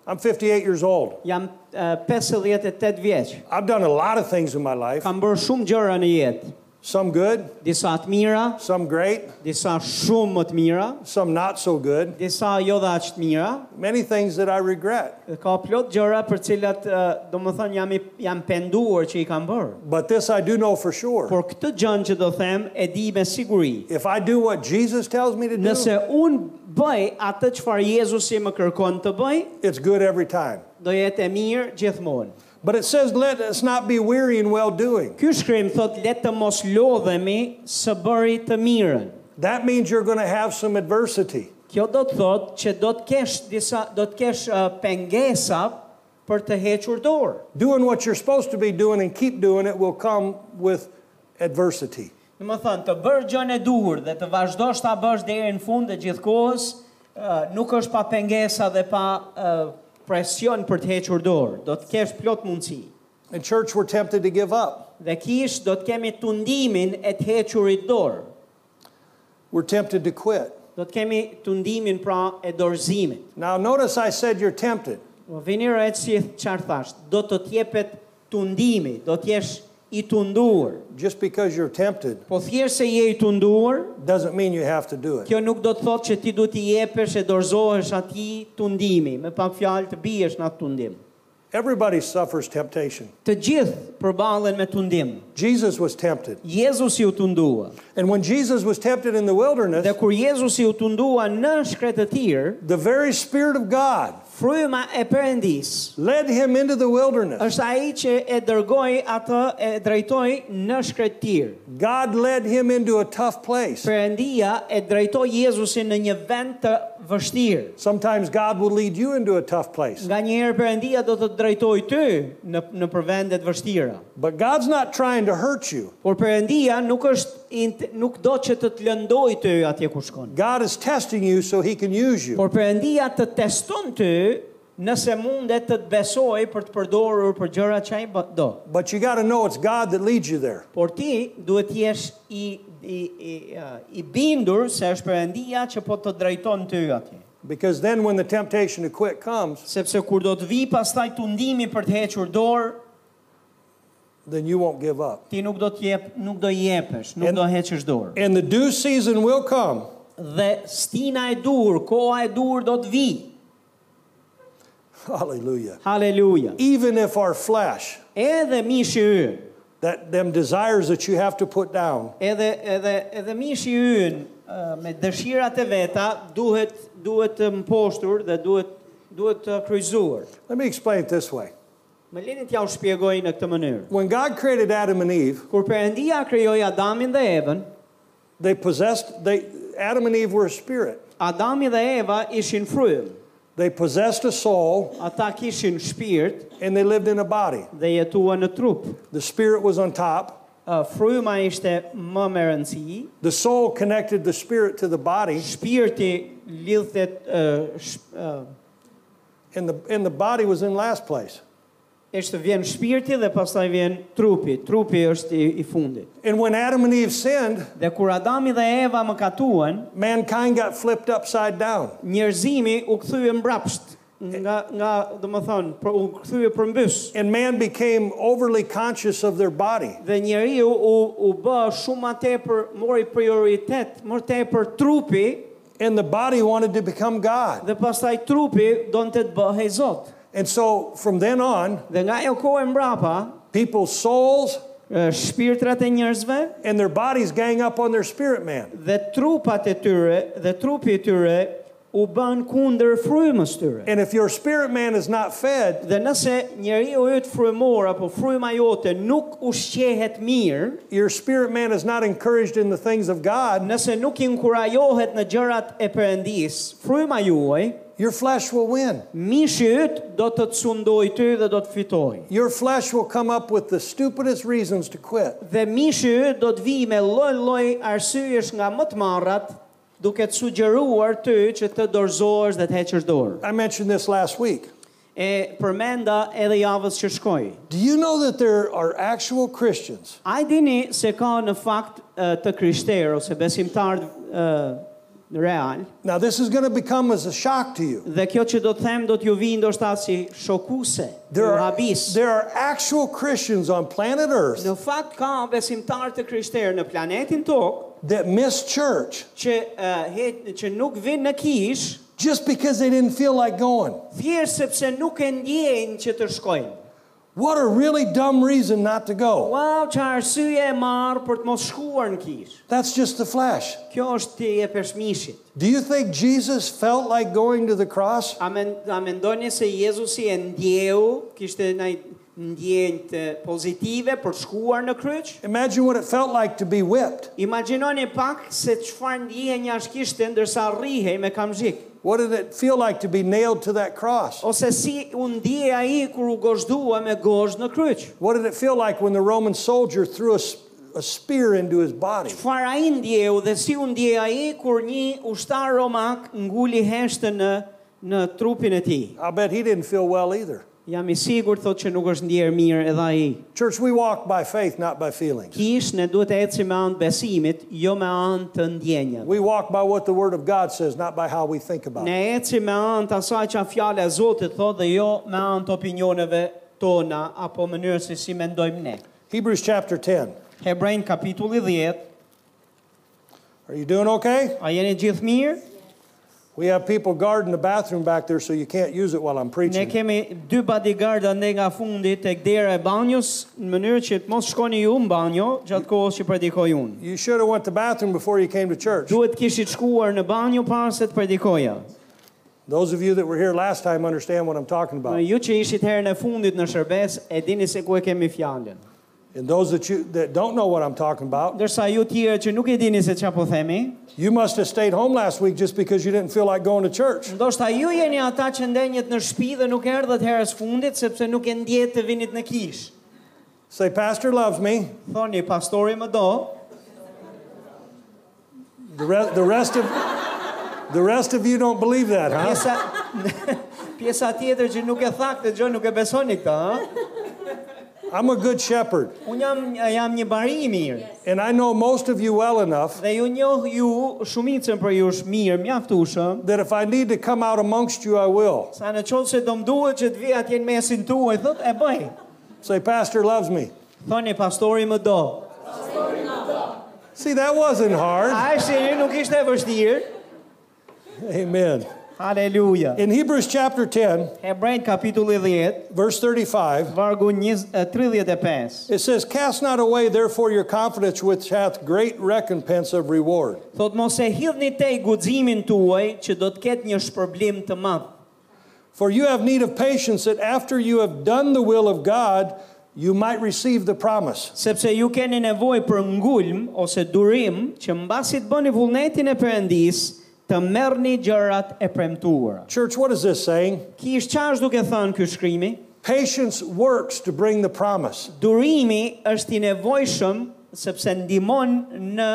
I'm 58 years old.
Jam eh, 58 vjeç.
I've done a lot of things in my life,
Kam bërë shumë gjëra në jetë.
some good,
Disa të mira,
some great,
disa shumë më të mira,
some not so good,
disa jo dhe aq të mira.
many things that I regret.
Dhe Ka plot gjëra për cilat, eh, do më thënë, jam, i, jam penduar që i kam bërë.
But this I do know for sure.
Por këtë gjën që do them, e di me siguri.
If I do what Jesus tells me to do,
Nëse unë bëj atë qëfar Jezusi më kërkon të bëj,
it's good every time.
do jetë e mirë gjithmonë.
But it says, let us not be weary in well doing.
Ky shkrim thot le të mos lodhemi së bëri të mirën.
That means you're going to have some adversity.
Kjo do të thot që do të kesh disa do të kesh uh, pengesa për të hequr dorë.
Doing what you're supposed to be doing and keep doing it will come with adversity.
Në më thënë, të bërë gjën e duhur dhe të vazhdosh ta bësh deri në fund dhe gjithkohës, uh, nuk është pa pengesa dhe pa uh, presion për të hequr dorë. Do të kesh plot mundësi.
In church, we're tempted to give up.
Dhe kish do të kemi tundimin e të hequrit dorë.
We're tempted to quit.
do të kemi të ndimin pra e dorëzimit.
Now, notice I said you're tempted.
Po vini re si çfarë thash, do të t'jepet të ndimi, do t'jesh i tunduar.
Just because you're tempted
Po thjesht se je i tunduar,
doesn't mean you have to do it.
kjo nuk do të thotë që ti duhet i jepesh e dorëzohesh atij tundimi, me pak fjalë të biesh në atë tundim.
Everybody suffers temptation.
Të gjithë përballen me tundim.
Jesus was tempted.
Jezusi u tundua.
And when Jesus was tempted in the wilderness,
Dhe kur Jezusi u tundua në shkretëtir,
the very Spirit of God
fryma e Perëndis
led him into the wilderness.
është ai që e dërgoi atë e drejtoi në shkretëtir.
God led him into a tough place.
Perëndia e drejtoi Jezusin në një vend të vështirë.
Sometimes God will lead you into a tough place.
Nga njëherë Perëndia do të të drejtoj ty në në përvende të vështira.
But God's not trying to hurt you.
Por Perëndia nuk është int- nuk do që të të lëndoj ty atje ku shkon.
God is testing you so he can use you.
Por Perëndia të teston ty nëse mundet të të besoj për të përdorur për gjëra që ai bë- do.
But you got to know it's God that leads you there.
Por ti duhet të jesh i i i, uh, i bindur se është Perëndia që po të drejton ty atje.
Because then when the temptation to quit comes,
Sepse kur do të vi pastaj tundimi për të hequr dorë,
then you won't give up.
ti nuk do të jep, nuk do jepesh, nuk
En-
do heqësh dorë.
And the due season will come.
Dhe stina e dur, koha e dur do të vi.
Hallelujah.
Halleluja.
Even if our flesh,
Edhe mishi ynë,
that them desires that you have to put down,
edhe edhe edhe mishi ynë ë, me dëshirat e veta duhet duhet të mposhtur dhe duhet duhet të kryqëzuar.
let me explain it this way.
Më lini t'ja u shpjegoj në këtë mënyrë.
When God created Adam and Eve,
Kur Perëndia krijoi Adamin dhe Evën,
they possessed they Adam and Eve were a spirit.
Adami dhe Eva ishin frym.
They possessed a soul
Ata kishin shpirt
and they lived in a body.
dhe jetuan në trup.
The spirit was on top.
Ë, Fryma ishte më me rëndësi,
The soul connected the spirit to the body
shpirti lidhte ë, sh- ë,
and the and the body was in last place.
është vjen shpirti dhe pastaj vjen trupi. Trupi është i, i fundit.
And when Adam and Eve sinned,
Dhe kur Adami dhe Eva më katuan,
mankind got flipped upside down.
njerëzimi u kthye mbrapsht nga nga domethënë për- u kthye përmbys.
And man became overly conscious of their body.
Dhe njeriu u u bë shumë më tepër mori prioritet, më tepër trupi
And the body wanted to become God.
dhe pastaj trupi donte të bëhej Zot.
And so from then on,
Dhe nga ajo kohë e mbrapa,
people's souls
e, shpirtrat e njerëzve
and their bodies gang up on their spirit man.
dhe trupat e tyre dhe trupi i tyre u bën kundër frymës tyre.
And if your spirit man is not fed,
Dhe nëse njeriu yt frymor apo fryma jote nuk ushqehet mirë,
your spirit man is not encouraged in the things of God,
nëse nuk i inkurajohet në gjërat e Perëndis, fryma juaj,
your flesh will win.
mishi yt do të të sundoj ty dhe do të fitoj.
Your flesh will come up with the stupidest reasons to quit.
Dhe mishi yt do të vi me lloj-lloj arsyesh nga më të marrat, duke të sugjeruar ty që të dorëzohesh dhe të heqësh dorë.
I mentioned this last week.
E përmenda edhe javës që shkoi.
Do you know that there are actual Christians
A i dini se ka në fakt e, të krishterë ose besimtarë e, real,
Now, this is going to become as a shock to you.
Dhe kjo që do të them do t'ju vi ndoshta si shokuse,
There
ju
are,
habis.
there are actual Christians on planet Earth
Në fakt ka besimtar të krishterë në planetin tokë
that miss church
që uh, het, që nuk vinë në kish,
just because they didn't feel like going.
thjesht sepse nuk e ndjejnë që të shkojnë.
What a really dumb reason not to go.
Wow, që arsye e marë për të mos shkuar në kish.
That's just the flesh.
Kjo është ti e përshmishit.
Do you think Jesus felt like going to the cross?
A, men, a mendoni se Jezusi e ndjeu, kishte ndaj ndjenjë të pozitive për të shkuar në kryq?
Imagine what it felt like to be whipped.
Imagjinoni pak se çfarë ndjenja është kishte ndërsa rrihej me kamzhik.
What did it feel like to be nailed to that cross?
Ose si u ndje ai kur u gozhdua me gozh në kryq.
What did it feel like when the Roman soldier threw a, s- a spear into his body?
Çfarë ai ndjeu dhe si u ndje ai kur një ushtar romak nguli heshtën në në trupin e tij.
I bet he didn't feel well either.
Jam i sigurt thotë që nuk është ndjerë mirë edhe ai.
Church, we walk by faith, not by feelings.
Kish ne duhet të ecim me anë të besimit, jo me anë të ndjenjës.
We walk by what the Word of God says, not by how we think about
Ne
it.
ecim me anë të asaj që fjala e Zotit thotë dhe jo me anë të opinioneve tona apo mënyrës se si mendojmë ne.
Hebrews chapter 10.
Hebrejnë kapitulli 10,
Are you doing okay?
a jeni gjithë mirë?
We have people guarding the bathroom back there, so you can't use it while I'm
Ne
preaching.
kemi dy bodyguarda ne nga fundi tek dera e banjos në mënyrë që të mos shkoni ju në banjo gjatë kohës që predikoj unë.
You should have went to bathroom before you came to church.
Duhet kishit shkuar në banjo para se të predikoja.
Those of you that were here last time understand what I'm
Në
talking about.
ju që ishit herën e fundit në shërbes, e dini se ku e kemi fjalën.
And those that you that don't know what I'm talking about,
Ndërsa ju tjerë që nuk e dini se çfarë po themi,
you must have stayed home last week just because you didn't feel like going to church.
ndoshta ju jeni ata që ndenjët në shtëpi dhe nuk erdhët herës fundit sepse nuk e ndjet të vinit në kish.
Say, Pastor loves me.
Thoni pastori më do,
The, re- the rest of the rest of you don't believe that, huh?
pjesa pjesa tjetër që nuk e thakë gjë nuk e besoni këtë, ha?
I'm a good shepherd,
Unë jam, jam një bari i mirë
and I know most of you well enough
dhe ju njoh ju shumicën për ju është mirë, mjaftueshëm.
that if I need to come out amongst you, I will.
Sa në qovë se do më duhet që të vi atje në mesin tuaj, thot e bëj.
Say, Pastor loves me.
Thoni pastori më do.
See, that wasn't hard.
A e shiri nuk ishte e vështirë.
Amen.
Haleluja.
In Hebrews chapter 10,
Hebrejt kapitulli 10,
verse 35,
vargu 20, eh, 35.
it says, Cast not away therefore your confidence, which hath great recompense of reward.
Thot mos e hidhni te guximin tuaj që do të ketë një shpërblim të madh.
For you have need of patience, that after you have done the will of God, you might receive the promise.
sepse ju keni nevojë për ngulm ose durim që mbasi të bëni vullnetin e Perëndis, të merrni gjërat e premtuara.
Church, what is this saying?
Kish çfarë është duke thënë ky shkrimi?
Patience works to bring the promise.
Durimi është i nevojshëm sepse ndihmon në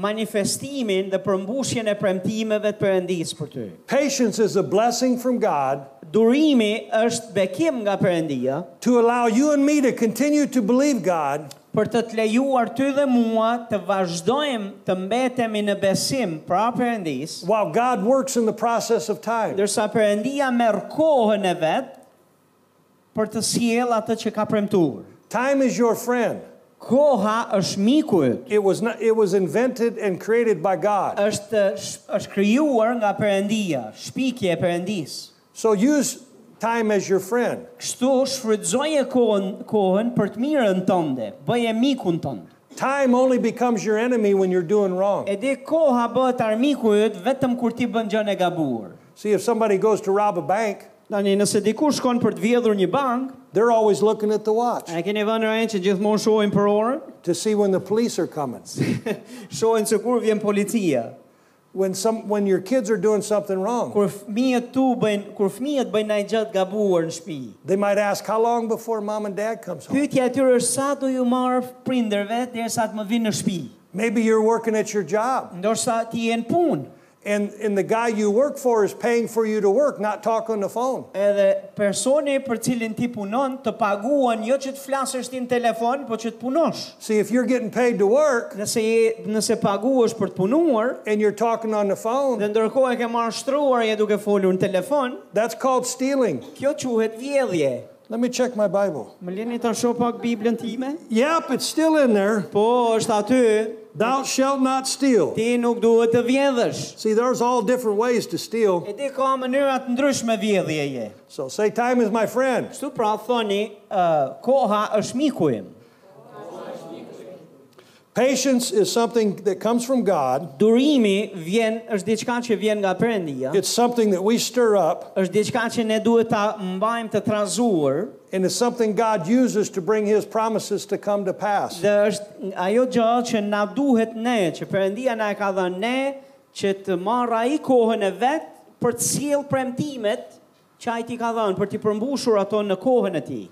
manifestimin dhe përmbushjen e premtimeve të Perëndis për ty.
Patience is a blessing from God
Durimi është bekim nga Perëndia
to allow you and me to continue to believe God
për të të lejuar ty dhe mua të vazhdojmë të mbetemi në besim pra Perëndis.
while God works in the process of time.
Ndërsa përëndia merë kohën e vetë për të siel atë që ka premtuar.
Time is your friend.
Koha është miku yt.
It was, not, it was invented and created by God.
Është sh- është krijuar nga Perëndia, shpikje e Perëndis.
So use time as your friend.
Kështu shfrytëzoje kohën kohën për të mirën tënde, bëje mikun tënd.
Time only becomes your enemy when you're doing wrong.
E di koha bëhet armiku yt vetëm kur ti bën gjën e gabuar.
See, if somebody goes to rob a bank,
Tani nëse dikush shkon për të vjedhur një bankë,
they're always looking at the watch
e keni vënë re që gjithmonë shohin për orën,
to see when the police are coming.
shohin se kur vjen policia.
When, some, when your kids are doing something wrong,
kur fëmijët tu bëjnë kur fëmijët bëjnë ai gjatë gabuar në shtëpi.
they might ask, How long before mom and dad comes home?
Pyetja e tyre është sa do ju marr prindërve derisa të më vinë në shtëpi.
Maybe you're working at your job
Ndoshta ti je në punë,
and, and the guy you work for is paying for you to work, not talk on the phone.
edhe personi për cilin ti punon të paguan jo që të flasësh ti në telefon, por që të punosh.
See, if you're getting paid to work
Nëse je nëse paguhesh për të punuar
and you're talking on the phone,
dhe ndërkohë e ke marrë shtruar je duke folur në telefon,
that's called stealing.
kjo quhet vjedhje.
Let me check my Bible.
Më lini ta shoh pak Biblën time?
Yep, it's still in there.
Po, është aty.
Thou shalt not steal.
Ti nuk duhet të vjedhësh.
See, there's all different ways to steal.
E ti ka mënyra të ndryshme vjedhje je.
So say, time is my friend.
Kështu pra thoni, uh, koha është miku im.
Patience is something that comes from God.
Durimi vjen është diçka që vjen nga Perëndia.
It's something that we stir up,
Është diçka që ne duhet ta mbajmë të trazuar
and it's something God uses to bring His promises to come to pass.
dhe është ajo gjë që na duhet ne, që Perëndia na e ka dhënë ne që të marrë ai kohën e vet për të sjell premtimet që ai ti ka dhënë për t'i përmbushur ato në kohën e tij.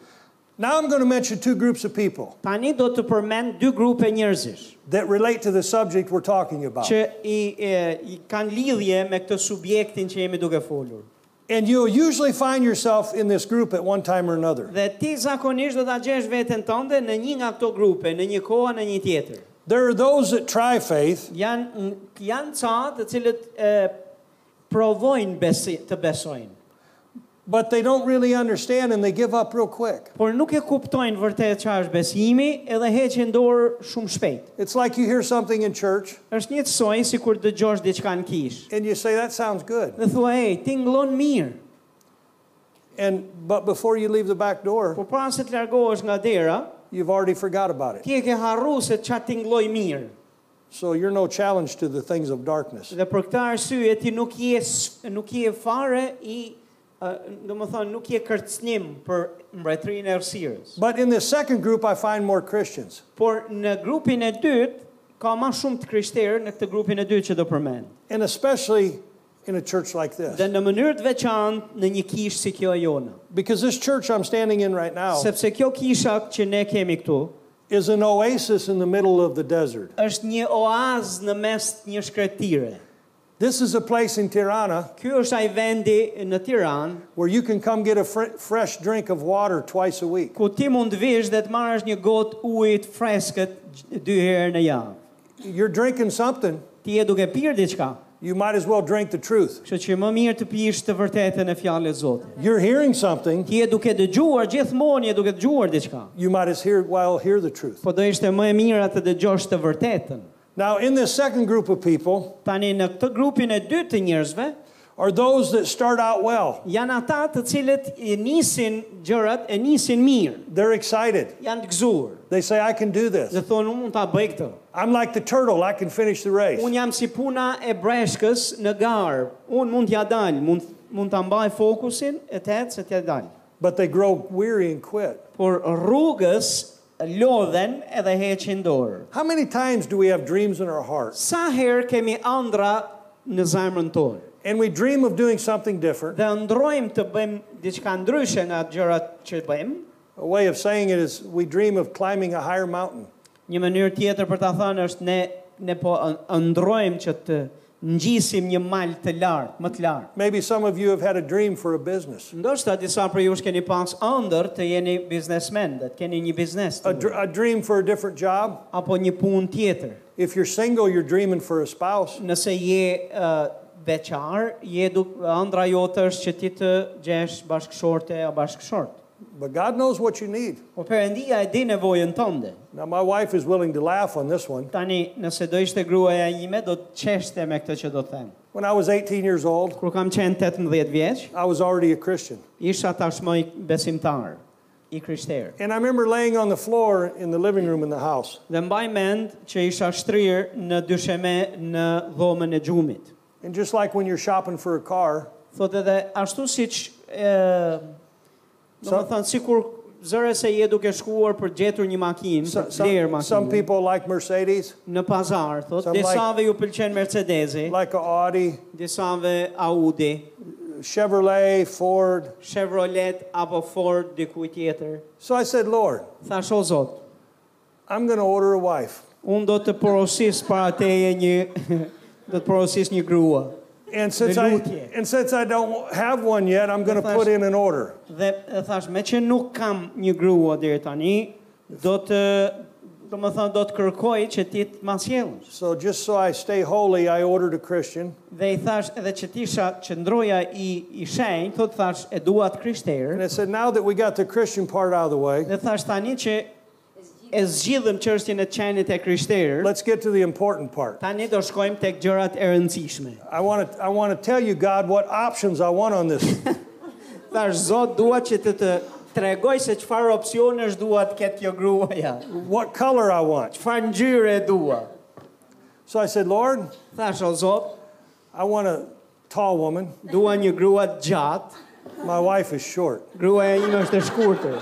Now I'm going to mention two groups of people
Tani do të përmend dy grupe njerëzish.
that relate to the subject we're talking about.
që i, e, i kanë lidhje me këtë subjektin që jemi duke folur.
And you'll usually find yourself in this group at one time or another.
Dhe ti zakonisht do ta gjesh veten tënde në një nga këto grupe, në një kohë në një tjetër.
There are those that try faith,
Janë janë ca të cilët e, provojnë besi, të besojnë,
but they don't really understand and they give up real quick.
por nuk e kuptojnë vërtet çfarë është besimi edhe heqin dorë shumë shpejt.
It's like you hear something in church
Është njësoj sikur dëgjosh diçka në kishë.
and you say, that sounds good.
Dhe thua, "Ej, ti nglon mirë."
And, but before you leave the back door,
Por para Po pra se të largohesh nga dera,
you've already forgot about it.
ti e ke harru se çfarë ti ngloj mirë.
So you're no challenge to the things of darkness.
Dhe për këtë arsye ti nuk je s- nuk je fare i ë, do të thonë nuk je kërcënim për mbretërinë e errësirës.
But in this second group, I find more Christians.
Por në grupin e dytë ka më shumë të krishterë në këtë grupin e dytë që do përmend.
And especially in a church like
Dhe
this.
në mënyrë të veçantë në një kishë si kjo e jona.
Because this church I'm standing in right now
Sepse kjo kisha që ne kemi këtu
is an oasis in the middle of the desert.
është një oazë në mes të një shkretire.
This is a place in Tirana
Ky është ai vendi në Tiranë
where you can come get a fr- fresh drink of water twice a week.
ku ti mund të vish dhe të marrësh një gotë ujë të freskët gj- dy herë në javë.
You're drinking something,
Ti je duke pirë diçka,
you might as well drink the truth.
kështu që më mirë të pish të vërtetën e fjalës së Zotit.
You're hearing something,
Ti je duke dëgjuar gjithmonë, je duke dëgjuar diçka.
you might as hear well hear the truth.
Po do ishte më e mira të dëgjosh të vërtetën.
Now, in this second group of people
Tani në këtë grupin e dytë të njerëzve
are those that start out well.
janë ata të cilët e nisin gjërat, e nisin mirë,
They're excited.
janë të gëzuar.
They say, I can do this.
Dhe thonë, unë mund ta bëj këtë.
I'm like the turtle, I can finish the race.
Unë jam si puna e breshkës në garë. Unë mund t'ja dalë, mund, mund t'a mbaj fokusin e të se t'ja dalë.
But they grow weary and quit.
Por rrugës lodhen edhe heqin dorë.
How many times do we have dreams in our hearts?
Sa herë kemi andra në zemrën tonë
And we dream of doing something different.
dhe ndrojmë të bëjmë diçka ndryshe nga gjërat që bëjmë.
A way of saying it is we dream of climbing a higher mountain.
Një mënyrë tjetër për ta thënë është ne ne po ë- ndrojmë që të ngjisim një mal të lartë, më të lartë.
Maybe some of you have had a dream for a business,
Ndoshta disa prej jush keni pas ëndër të jeni biznesmen, dhe të keni një biznes. të
a, dr- a dream for a different job.
apo një punë tjetër.
If you're single, you're dreaming for a spouse.
Nëse je uh, beqar, je duk ëndra jote është që ti të gjesh bashkëshorte apo bashkëshort.
But God knows what you need.
Po Perëndia e di nevojën tënde.
Now, my wife is willing to laugh on this one.
Tani, nëse do ishte gruaja ime, do të qeshte me këtë që do të them.
When I was 18 years old,
Kur kam qenë 18 vjeç,
I was already a Christian.
isha tashmë i besimtar, i krishterë.
And I remember laying on the floor in the living room in the house.
Dhe mbaj mend që isha shtrirë në dysheme në dhomën e gjumit.
And just like when you're shopping for a car,
Thot edhe ashtu si që, do
Sa-
më thënë, si kur zëre se je duke shkuar për gjetur një makinë,
So-
për
some,
vlerë
some
makinë,
people like Mercedes,
në pazar, thot,
Some like-
disave ju pëlqen Mercedesi,
like a Audi,
disave Audi,
Chevrolet, Ford.
Chevrolet apo Ford, dikuj tjetër.
So I said, Lord,
Thash, o zot,
I'm going to order a wife.
unë do të porosis para teje një, do të porosis një grua.
And since I
Velutje.
and since I don't have one yet, I'm going to
Yes,
put
sir.
in an order.
Dhe e thash, me që nuk kam një grua deri tani, do të, do më thënë, do të kërkoj që ti të masjelësh.
So just so I stay holy, I ordered a Christian.
Dhe i thash edhe që tisha që ndroja i, i shenjë, thot thash e dua të
And
krishterë,
I said, now that we got the Christian part out of the way,
dhe thash tani që e zgjidhëm çështjen e qenit e krishterë,
let's get to the important part.
tani do shkojmë tek gjërat e rëndësishme.
I want to I want to tell you, God, what options I want on this.
Thash Zot dua që të të tregoj se çfarë opsionesh dua të ketë kjo gruaja,
what color I want.
çfarë ngjyre e dua.
So I said, Lord,
Thash o Zot,
I want a tall woman.
dua një grua të gjatë,
My wife is short.
gruaja ime është e shkurtër.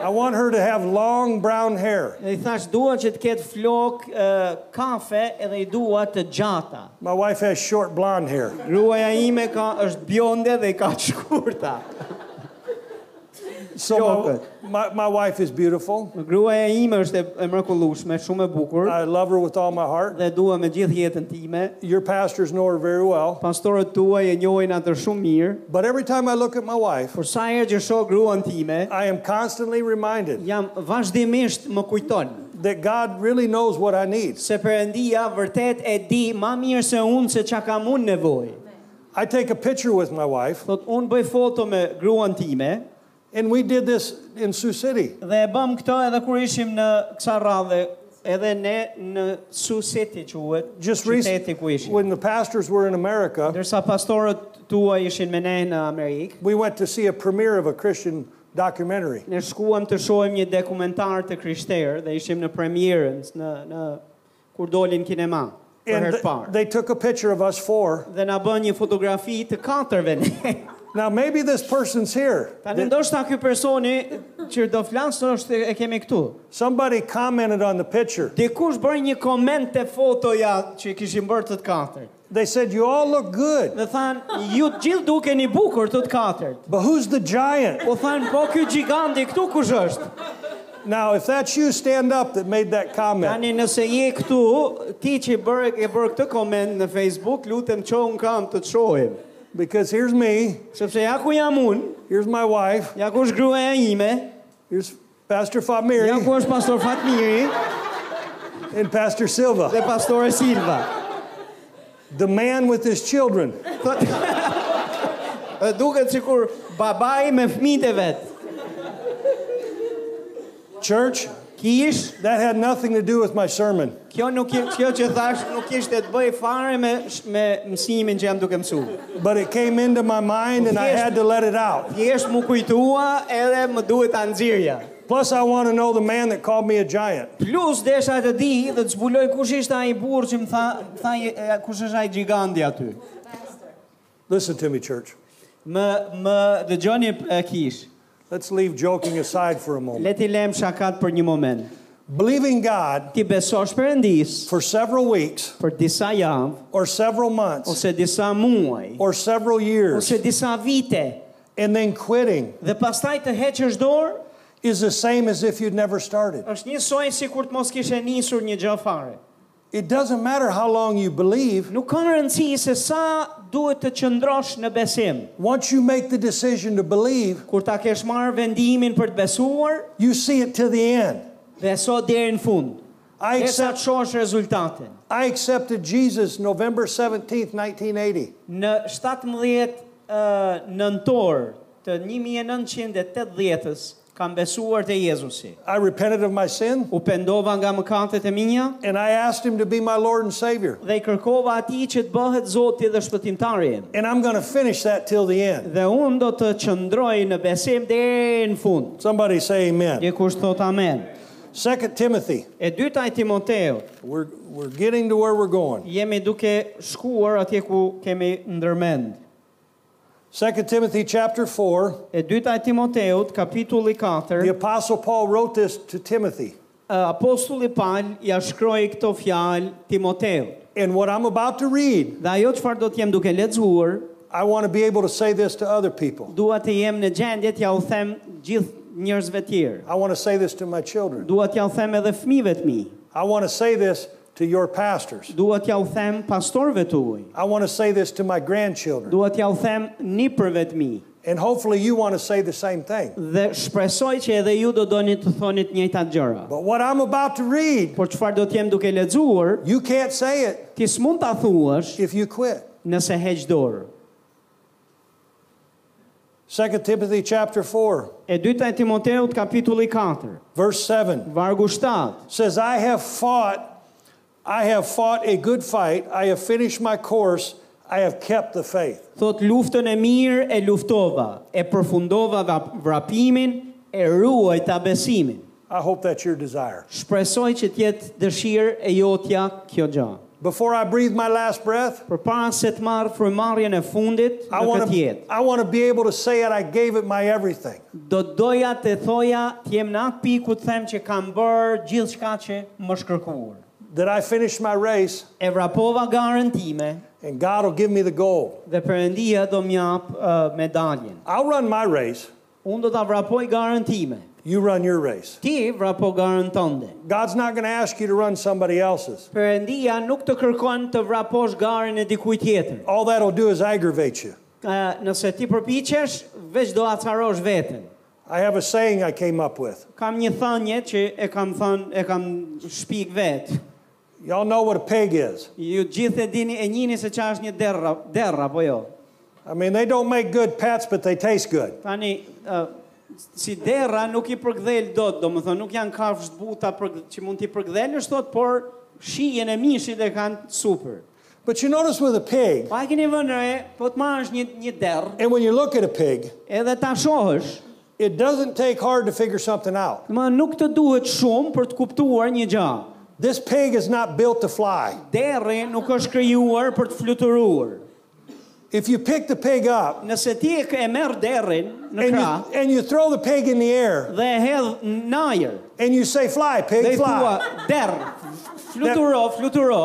I want her to have long brown hair.
Dhe i thash dua që të ketë flok ë, kafe edhe i dua të gjata.
My wife has short blonde hair.
Gruaja ime ka është bjonde dhe i ka të shkurta.
So
flokët.
my, my, my wife is beautiful.
Gruaja ime është e- e mrekullueshme, shumë e bukur
I love her with all my heart.
dhe dua me gjithë jetën time.
Your pastors know her very well.
Pastorët tuaj e njohin atë shumë mirë.
But every time I look at my wife,
Por sa herë që shoh gruan time,
I am constantly reminded
jam vazhdimisht më kujton
that God really knows what I need.
se Perëndia vërtet e di më mirë se unë se çka kam unë nevojë.
I take a picture with my wife,
Thot unë bëj foto me gruan time
and we did this in Sioux City.
dhe e bëm këtë edhe kur ishim në kësa radhe edhe ne në Sioux City quhet,
Just
qyteti
recently,
ku ishim.
when the pastors were in America,
Ndërsa pastorët tuaj ishin me ne në Amerikë,
we went to see a premiere of a Christian documentary.
ne shkuam të shohim një dokumentar të krishterë dhe ishim në premierën në në kur dolin kinema për
And
herë të
th-
parë.
they took a picture of us four.
Dhe na bën një fotografi të katërve ne.
Now, maybe this person's here.
Tani ndoshta ky personi që do flasë është e kemi këtu.
Somebody commented on the picture.
Dikush bëri një koment te fotoja që kishim bërë të të katërt.
They said, You all look good,
Dhe than, ju të gjithë dukeni bukur të të katërt.
but who's the giant?
Po than, po ky giganti këtu kush është?
Now, if that's you, stand up that made that comment.
Tani nëse je këtu, ti që i bërë e bërë këtë koment në Facebook, lutem që unë kam të të shohim.
Because here's me,
Sepse ja ku jam unë,
here's my wife,
ja ku është gruaja ime,
here's Pastor
ja
Famiri,
ku është pastor Fatmiri
and Pastor Silva,
dhe pastore Silva.
the man with his children.
Thot, Dhe duket sikur babai me fëmijët e vet.
Church,
Kish,
that had nothing to do with my sermon.
kjo nuk i- kjo që thash nuk kishte të bëj fare me sh- me mësimin që jam duke mësuar.
But it came into my mind and I had to let it out.
Thjesht mu kujtua edhe më duhet ta nxjerrja.
Plus, I want to know the man that called me a giant.
Plus desha të di dhe të zbuloj kush ishte ai burr që më tha, më tha e, e, kush është ai giganti aty.
Listen to me, church.
Më më dëgjoni e, kish.
Let's leave joking aside for a moment.
Le ti lëm shakat për një moment.
Believing God
Ti besosh Perëndis
for several weeks
për disa javë
or several months
ose disa muaj
or several years
ose disa vite
and then quitting
Dhe pastaj të heqësh dorë
is the same as if you'd never started.
është njësoj sikur të mos kishe nisur një gjë fare.
It doesn't matter how long you believe.
Nuk ka rëndësi se sa duhet të qëndrosh në besim.
Once you make the decision to believe,
Kur ta kesh marrë vendimin për të besuar,
you see it to the end.
beso deri në fund.
I
Dhe sa
accept
të shohësh rezultatin.
I accepted Jesus November 17th, 1980.
Në 17 uh, nëntor të 1980-s kam besuar te Jezusi.
I repented of my sin
U pendova nga mëkatet e mia
and I asked him to be my Lord and Savior.
dhe i kërkova atij që të bëhet Zoti dhe shpëtimtari im.
And I'm going to finish that till the end.
Dhe unë do të qëndroj në besim deri në fund.
Somebody say amen.
Dikush thot amen.
Second Timothy.
E dyta e Timoteut,
We're, we're getting to where we're going.
jemi duke shkuar atje ku kemi ndërmend.
Second Timothy chapter 4.
E dyta e Timoteut, kapitulli 4,
The apostle Paul wrote this to Timothy.
apostulli Paul ja shkroi këto fjalë Timoteut.
And what I'm about to read,
Dhe ajo çfarë do të jem duke lexuar,
I want to be able to say this to other people.
dua të jem në gjendje t'ja u them gjithë njerëzve tjerë.
I want to say this to my children.
Dua t'ja u them edhe fëmijëve të mi.
I want to say this to your pastors.
Dua t'ja u them pastorëve tuaj.
I want to say this to my grandchildren.
Dua t'ja u them nipërve të mi.
And hopefully you want to say the same thing.
dhe shpresoj që edhe ju do doni të thoni të njëjtat gjëra.
But what I'm about to read,
Por çfarë do të jem duke lexuar,
you can't say it
ti s'mund ta thuash
if you quit.
nëse heq dorë.
2 Timothy chapter 4,
E dyta e Timoteut kapitulli 4,
verse 7
vargu 7.
says, I have fought, I have fought a good fight, I have finished my course, I have kept the faith.
Thot luftën e mirë e luftova, e përfundova vap- vrapimin, e ruajta besimin.
I hope that's your desire.
Shpresoj që të jetë dëshirë e jotja kjo gjë.
Before I breathe my last breath,
Përpara se të marr frymarrjen e fundit
I
në
want
këtë
to
jetë,
I want to be able to say it I gave it my everything.
Do doja të thoja të jem në atë piku të them që kam bërë gjithë shka që më shkërkuar.
That I finished my race
E vrapova garën time
and God will give me the goal.
dhe përëndia do mjap uh, medaljen.
I'll run my race,
unë do ta vrapoj garën time.
You run your race.
Ti vrapo garën tënde.
God's not going to ask you to run somebody else's.
Perëndia nuk të kërkon të vraposh garën e dikujt tjetër.
All that'll do is aggravate you.
Ë, nëse ti përpiqesh, veç do acarosh veten.
I have a saying I came up with.
Kam një thënie që e kam thënë, e kam shpik vetë.
Y'all know what a pig is.
Ju gjithë e dini e njini se çfarë është një derra, derra apo jo.
I mean, they don't make good pets, but they taste good.
Tani ë, si derra nuk i përkdhel dot, domethënë nuk janë kafsh të buta për që mund t'i përkdhelësh dot, por shijen e mishit e kanë super.
But you notice with a pig,
Pa e keni vënë re, po të marrësh një një derr,
and when you look at a pig,
edhe ta shohësh,
it doesn't take hard to figure something out.
më nuk të duhet shumë për të kuptuar një gjë.
This pig is not built to fly.
Derri nuk është krijuar për të fluturuar.
If you pick the pig up
Nëse ti e ke- e merr derrin në
and you,
krah
and you throw the pig in the air
dhe e hedh në ajër,
and you say, fly,
dhe
pig,
i thua
fly,
derr, fluturo, fluturo,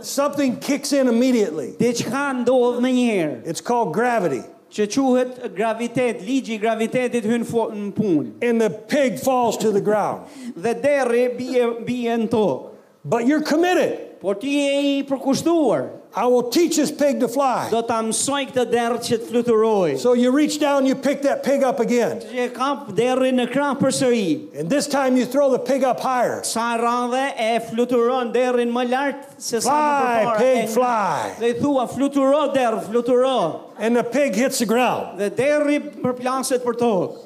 something kicks in immediately.
diçka ndodh në një herë.
It's called gravity.
që quhet gravitet, ligji i gravitetit hyn fo- në punë.
And the pig falls to the ground.
Dhe derri bie bie në tokë.
But you're committed.
Por ti je i përkushtuar.
I will teach this pig to fly.
Do ta mësoj këtë derë që të fluturoj.
So you reach down, you pick that pig up again.
Që e kap derrin në krah përsëri.
And this time you throw the pig up higher.
Sa radhe e fluturon derrin më lart se sa më
Fly,
përpara.
pig,
E-
fly.
Dhe i thua fluturo derr, fluturo.
And the pig hits the ground.
Dhe derri përplaset për tokë.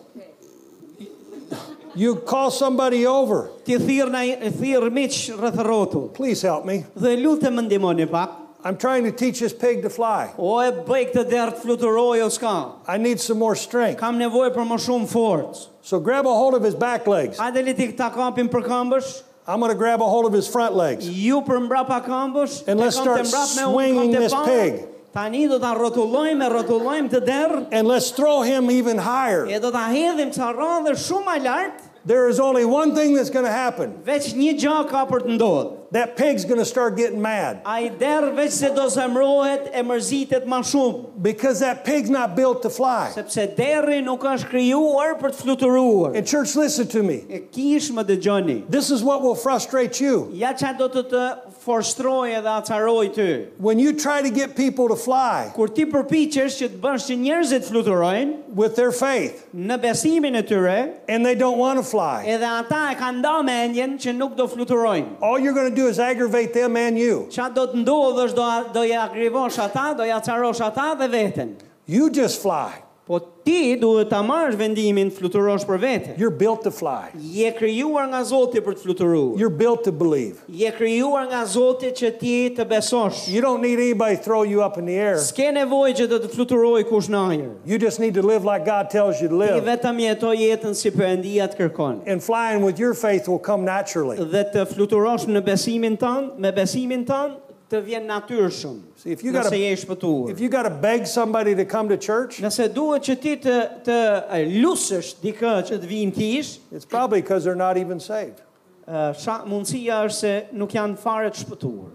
You call somebody over.
Ti thirr na thirr miq rreth rrotull.
Please help me.
Dhe lutem më ndihmoni pak.
I'm trying to teach this pig to fly.
O e bëj këtë derë të fluturoj o s'ka.
I need some more strength.
Kam nevojë për më shumë forcë.
So grab a hold of his back legs.
Hajde le ti ta kapim për këmbësh,
I'm going to grab a hold of his front legs.
ju për mbrapa këmbësh,
And let's
e kam të
start
mbrapme, unë
swinging
kam të
this
parë.
pig.
Tani do ta rrotullojmë, e rrotullojmë të derë,
And let's throw him even higher.
e do ta hedhim ca radhe shumë më lart,
There is only one thing that's going to happen
veç një gjë ka për të ndodhur.
that pig's going to start getting mad
Ai derë veç se do zemrohet e mërzitet më shumë,
because that pig's not built to fly.
sepse derri nuk është krijuar për të fluturuar.
And, church, listen to me.
E kish më dëgjoni.
This is what will frustrate you.
Ja qa do të të forstrojë dhe acaroj ty.
When you try to get people to fly
Kur ti përpiqesh që të bësh që njerëzit fluturojnë,
with their faith
në besimin e tyre,
and they don't want to fly,
edhe ata e kanë nda mendjen që nuk do fluturojnë.
all you're going to do is aggravate them and you.
Qa do të ndodhë është do, do ja grivosh ata, do ja carosh ata dhe veten.
You just fly.
Po ti duhet ta marrësh vendimin të fluturosh për veten.
You're built to fly.
Je krijuar nga Zoti për të fluturuar.
You're built to believe.
Je krijuar nga Zoti që ti të besosh.
You don't need anybody to throw you up in the air.
S'ke nevojë që do të fluturoj kush në ajër.
You just need to live like God tells you
Ti
to live.
vetëm jetoj jetën si Perëndia të kërkon.
And flying with your faith will come naturally.
Dhe të fluturosh në besimin tënd, me besimin tënd të vjen natyrshëm.
See, if you got a-
nëse je i shpëtuar.
If you got to beg somebody to come to church,
Nëse duhet që ti të të e, lusësh dikë që të vinë kish,
it's probably because they're not even saved.
sha, mundësia është se nuk janë fare të shpëtuar.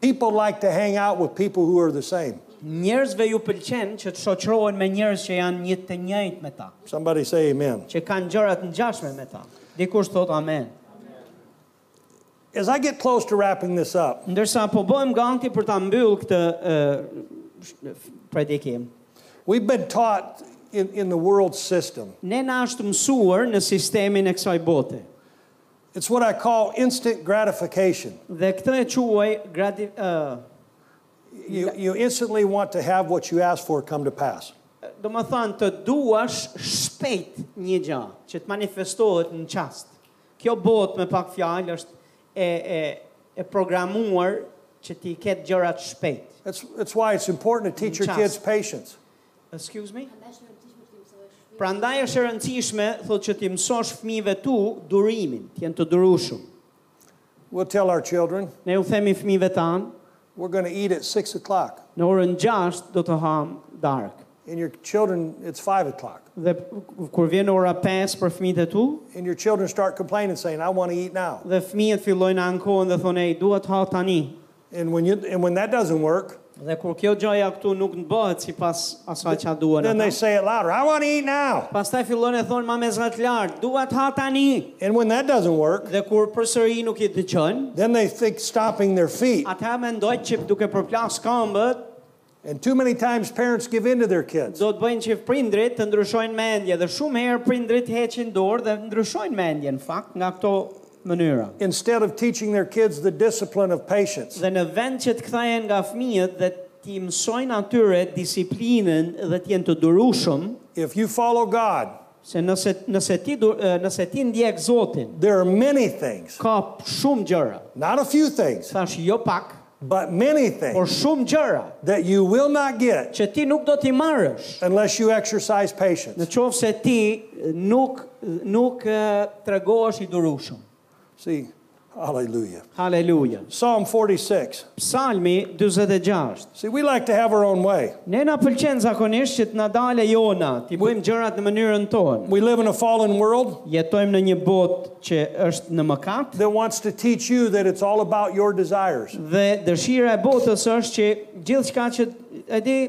People like to hang out with people who are the same.
Njerëzve ju pëlqen që të shoqërohen me njerëz që janë një të njëjtë me ta,
Somebody say amen.
që kanë gjëra të ngjashme me ta. Dikush thot amen.
As I get close to wrapping this up,
Ndërsa po bëhem ganti për ta mbyll këtë ë predikim.
we've been taught in, in the world system.
Ne na është mësuar në sistemin e kësaj bote.
It's what I call instant gratification.
Dhe këtë e quaj grati, ë
You, you instantly want to have what you ask for come to pass.
do më thënë të duash shpejt një gjë që të manifestohet në qast. Kjo botë me pak fjalë është e, e, e programuar që ti ketë gjërat shpejt.
That's, that's why it's important to teach your
Just.
kids patience.
Excuse me?
Dash në rëndësishme të mësohesh shpirtin.
Pra ndaj është e rëndësishme, thot që ti mësosh fmive tu durimin, të jenë të durushëm.
We'll tell our children,
Ne u themi fmive tanë,
we're going to eat at 6 o'clock.
në orën 6 do të ham darkë.
And your children, it's 5 o'clock.
Dhe kur vjen ora 5 për fëmijët e tu,
And your children start complaining, saying, I want to eat now.
dhe fëmijët fillojnë ankohen dhe thonë, "Ej, dua të ha tani."
And when, you, and when that doesn't work,
Dhe kur kjo gjoja këtu nuk në bëhet si pas asaj që duan
Then they
ata.
say it louder I want to eat now.
Pastaj fillon e thonë ma me zgat lartë, dua të ha tani.
And when that doesn't work,
Dhe kur përsëri nuk i dëgjojnë,
then they think stopping their feet.
ata mendojnë që duke përplas këmbët
And too many times parents give in to their kids.
do të bëjnë që prindrit të ndryshojnë mendje dhe shumë herë prindrit heqin dorë dhe ndryshojnë mendje në fakt nga këto mënyra.
Instead of teaching their kids the discipline of patience.
Dhe në vend që të kthehen nga fëmijët dhe ti mësojnë atyre disiplinën dhe të jenë të durueshëm,
If you follow God,
se nëse nëse ti du- eh, nëse ti ndjek Zotin,
there are many things,
ka shumë gjëra.
not a few things,
Thash jo pak,
but many
por
things
shumë gjëra
that you will not get
që ti nuk do t'i marrësh.
unless you exercise
Në
patience.
qovë se ti eh, nuk, nuk eh, tregohesh i durushëm.
See, hallelujah.
Haleluja.
Psalm 46.
Psalmi 46.
See, we like to have our own way.
Ne na pëlqen zakonisht që të na dale jona, ti bëjmë gjërat në mënyrën tonë.
We live in a fallen world
Jetojmë në një botë që është në mëkat
that wants to teach you that it's all about your desires.
dhe dëshira e botës është që gjithçka që e di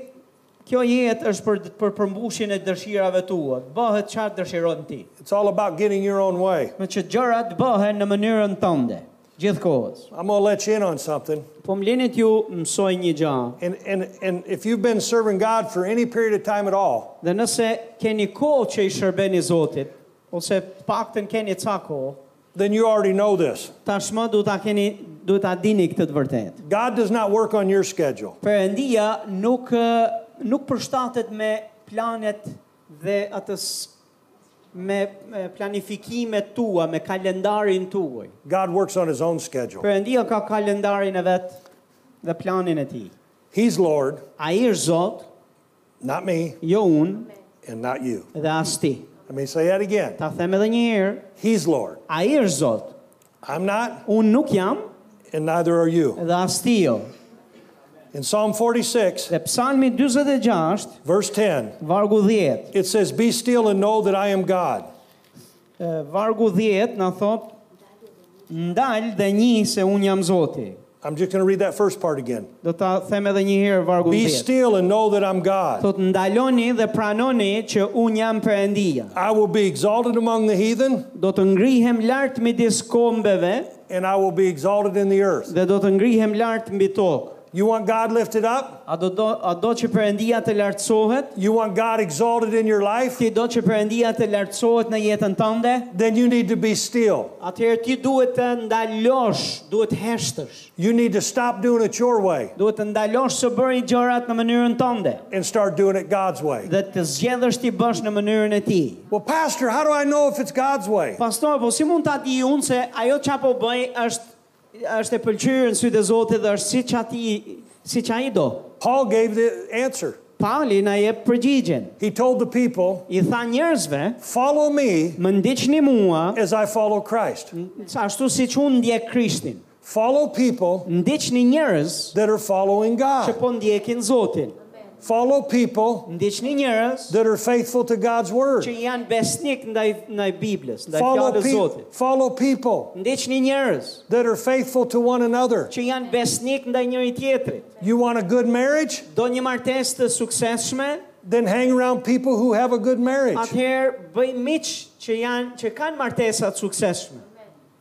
kjo jetë është për për përmbushjen e dëshirave tua. Të Bëhet çfarë dëshiron ti.
It's all about getting your own way.
Me që gjërat bëhen në mënyrën tënde, gjithkohës.
I'm going to let you in on something.
Po më lini t'ju mësoj një gjë.
And, and, and if you've been serving God for any period of time at all,
Dhe nëse keni kohë që i shërbeni Zotit, ose paktën keni ca kohë,
then you already know this.
Tashmë duhet ta keni, duhet ta dini këtë të vërtetë.
God does not work on your schedule.
Perëndia nuk ë, nuk përshtatet me planet dhe atës me, me planifikimet tua, me kalendarin tuaj.
God works on his own schedule.
Perëndia ka kalendarin e vet dhe planin e tij.
He's Lord,
Ai është Zot,
not me
jo unë
and not you.
dhe as ti.
Let me say that again.
Ta them edhe një herë,
He's Lord.
ai është Zot.
I'm not
Unë nuk jam
and neither are you.
dhe as ti jo.
In Psalm 46,
Dhe Psalmi 46,
verse 10,
vargu 10.
it says, Be still and know that I am God.
E, Vargu 10 na thot ndal dhe një se un jam Zoti.
I'm just going to read that first part again.
Do ta them edhe një herë vargu
Be
10.
still and know that I'm God.
Thot ndaloni dhe pranoni që un jam Perëndia.
I will be exalted among the heathen
Do të ngrihem lart midis kombeve
and I will be exalted in the earth.
dhe do të ngrihem lart mbi tokë.
You want God lifted up?
A do do a do që Perëndia të lartësohet?
You want God exalted in your life?
Ti do që Perëndia të lartësohet në jetën tënde?
Then you need to be still.
Atëherë ti duhet të ndalosh, duhet të heshtësh.
You need to stop doing it your way
Duhet të ndalosh së bëri gjërat në mënyrën tënde
and start doing it God's way.
dhe të zgjedhësh ti bësh në mënyrën e tij.
Well, Pastor, how do I know if it's God's way?
Pastor, po si mund ta di unë se ajo ç'a po bëj është është e pëlqyer në sytë e Zotit dhe është siç ati siç ai do.
Paul gave the answer.
Pauli na jep përgjigjen.
He told the people,
I tha njerëzve,
Follow me
më ndiqni mua,
as I follow Christ.
ashtu siç unë ndjek Krishtin.
Follow people
Ndiqni njerëz
that are following
që
God.
po ndjekin Zotin.
Follow people
Ndiqni njerëz
that are faithful to God's
që
word.
janë besnik ndaj ndaj Biblës, ndaj
Follow,
fjalës së
pe-
Zotit.
follow people
Ndiqni njerëz
that are faithful to one another.
që janë besnik ndaj njëri tjetrit.
You want a good marriage?
Do një martesë të suksesshme,
Then hang around people who have a good marriage.
Atëherë bëj miq që janë që kanë martesa të suksesshme.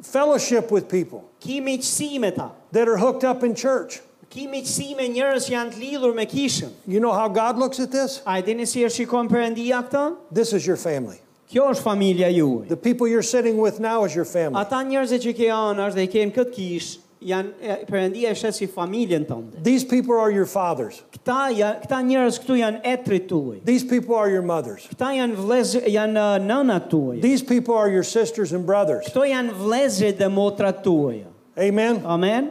Fellowship with people
Ki miqësi me ta.
that are hooked up in church.
Ki miqësi me njerëz që janë të lidhur me kishën.
You know how God looks at this?
A e dini si e shikon Perëndia këtë?
This is your family.
Kjo është familja juaj.
The people you're sitting with now is your family.
Ata njerëz që ke anash dhe i kanë këtë kish, janë e, Perëndia e shes si familjen tënde.
These people are your fathers.
Këta ja, këta njerëz këtu janë etrit tuaj.
These people are your mothers.
Këta janë vëllezër, janë uh, nënat tuaja.
These people are your sisters and brothers.
Këto janë vëllezërit dhe motrat tuaja.
Amen.
Amen.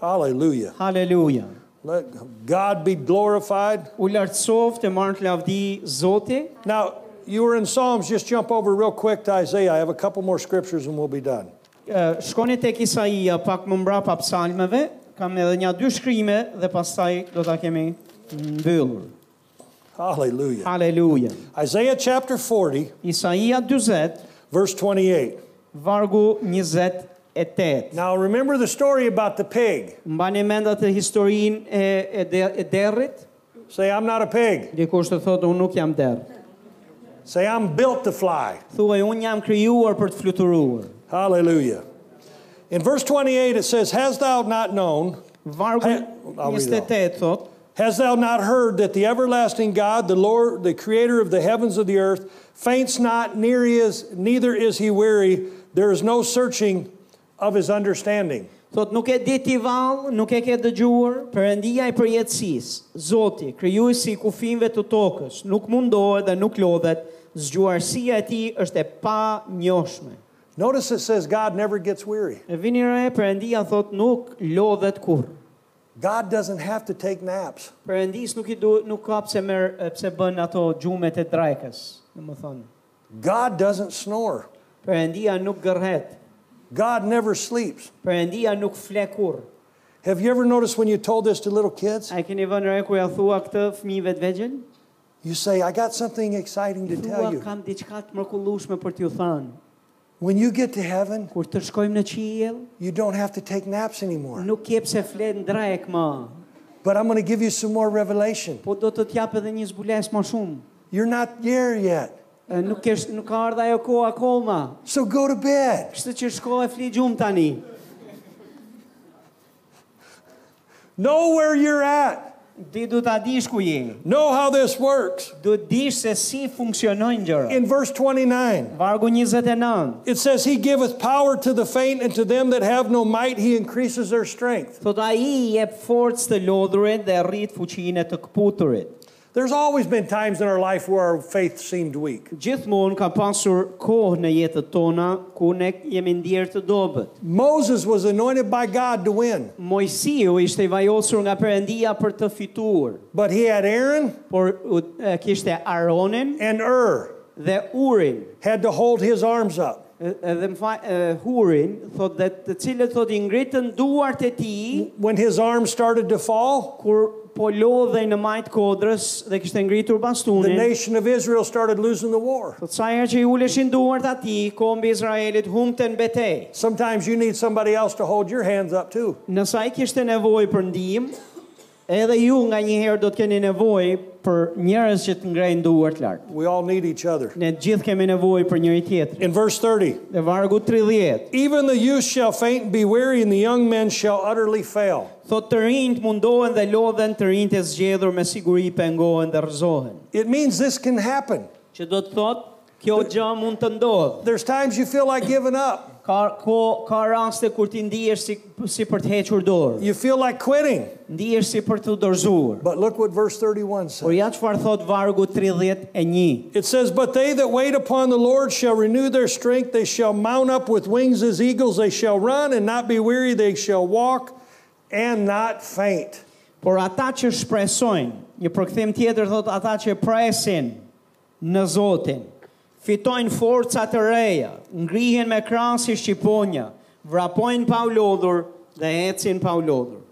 Hallelujah.
Haleluja.
Let God be glorified.
U lartësoft e marrë të lavdi Zoti.
Now, you were in Psalms. Just jump over real quick to Isaiah. I have a couple more scriptures and we'll be done.
Eh, shkoni tek Isaia pak më mbrapa psalmeve, kam edhe një dy shkrime dhe pastaj do ta kemi mbyllur.
Hallelujah.
Haleluja.
Isaiah chapter 40,
Isaia 40,
verse 28.
vargu 28. e 8.
Now remember the story about the pig.
Mbani mend atë historinë e, e, de- e derrit?
Say, I'm not a pig.
Dikush të thotë unë nuk jam derr.
Say, I'm built to fly.
Thuaj unë jam krijuar për të fluturuar.
Hallelujah. In verse 28, it says, Hast thou not known,
Vargu
Hey, I'll read
28
it all.
thotë
hast thou not heard that the everlasting God, the Lord, the creator of the heavens and the earth, faints not, near is, neither is he weary. There is no searching of his understanding.
Thot nuk e di ti val, nuk e ke dëgjuar, Perëndia e përjetësisë, Zoti, krijuesi i kufijve të tokës, nuk mundohet dhe nuk lodhet, zgjuarësia e tij është e pa njohshme.
Notice it says, God never gets weary.
E vini re, Perëndia thot nuk lodhet kurrë.
God doesn't have to take naps.
Perëndis nuk i du, nuk ka pse merr pse bën ato gjumet e drekës, domethënë.
God doesn't snore.
Perëndia nuk gërhet.
God never sleeps.
Perëndia nuk fle kurrë.
Have you ever noticed when you told this to little kids?
A e keni vënë re kur ja thua këtë fëmijëve të vegjël?
You say, I got something exciting to
Thua
tell you.
kam diçka të mrekullueshme për t'ju thënë.
When you get to heaven,
Kur të shkojmë në qiell,
you don't have to take naps anymore.
nuk jep se flet ndrejk më,
But I'm going to give you some more revelation.
po do të t'jap edhe një zbules më shumë.
You're not there yet.
E, Nuk kesh, nuk ka ardha ajo kohë akoma.
So go to bed.
Kështu që shko e fli gjumë tani.
Know where you're at.
Ti du ta dish ku je.
Know how this works.
Du dish se si funksionojnë gjërat.
In verse 29,
Vargu 29.
it says, He giveth power to the faint, and to them that have no might, He increases their strength.
Thot ai i jep forcë të lodhurit dhe rrit fuqinë e të kputurit.
There's always been times in our life where our faith seemed weak.
Gjithmonë ka pasur kohë në jetët tona ku ne jemi ndjerë të dobët.
Moses was anointed by God to win,
Mojsiu ishte i vajosur nga Perëndia për të fituar,
but he had Aaron
por u- e, kishte Aronin
and Ur
dhe urin
had to hold his arms up.
e- edhe më fa, e, hurin thot dhe të cilët thot i ngritën duart e tij
When his arms started to fall,
kur po lodhej në majt kodrës dhe kishte ngritur
the
bastunin
nation of Israel started losing the war.
thot sa herë që i uleshin duart atij kombi i Izraelit humbte në betejë
Sometimes you need somebody else to hold your hands up too.
nëse ai kishte nevojë për ndihmë edhe ju nga një herë do të keni nevojë për njerëz që të ngrejnë duart lart
We all need each other.
ne gjithë kemi nevojë për njëri tjetrin
In verse 30,
dhe vargu 30
even the youth shall faint and be weary, and the young men shall utterly fail.
Thot të rinjt mundohen dhe lodhen, të rinjt e zgjedhur me siguri pengohen dhe rëzohen.
It means this can happen.
Që do të thot, kjo gjë mund të ndodhë.
There's times you feel like giving up,
Ka, ko, ka raste kur ti ndihesh si, si për të hequr dorë,
you feel like quitting.
ndihesh si për të dorëzuar.
But look what verse 31
Por
says.
ja çfarë thot vargu 31.
It says, But they that wait upon the Lord shall renew their strength. They shall mount up with wings as eagles. They shall run and not be weary. They shall walk and not faint.
Por ata që shpresojnë, një përkthim tjetër thot ata që presin në Zotin, fitojnë forca të reja, ngrihen me krahas si shqiponja, vrapojnë pa u lodhur dhe ecin pa u lodhur.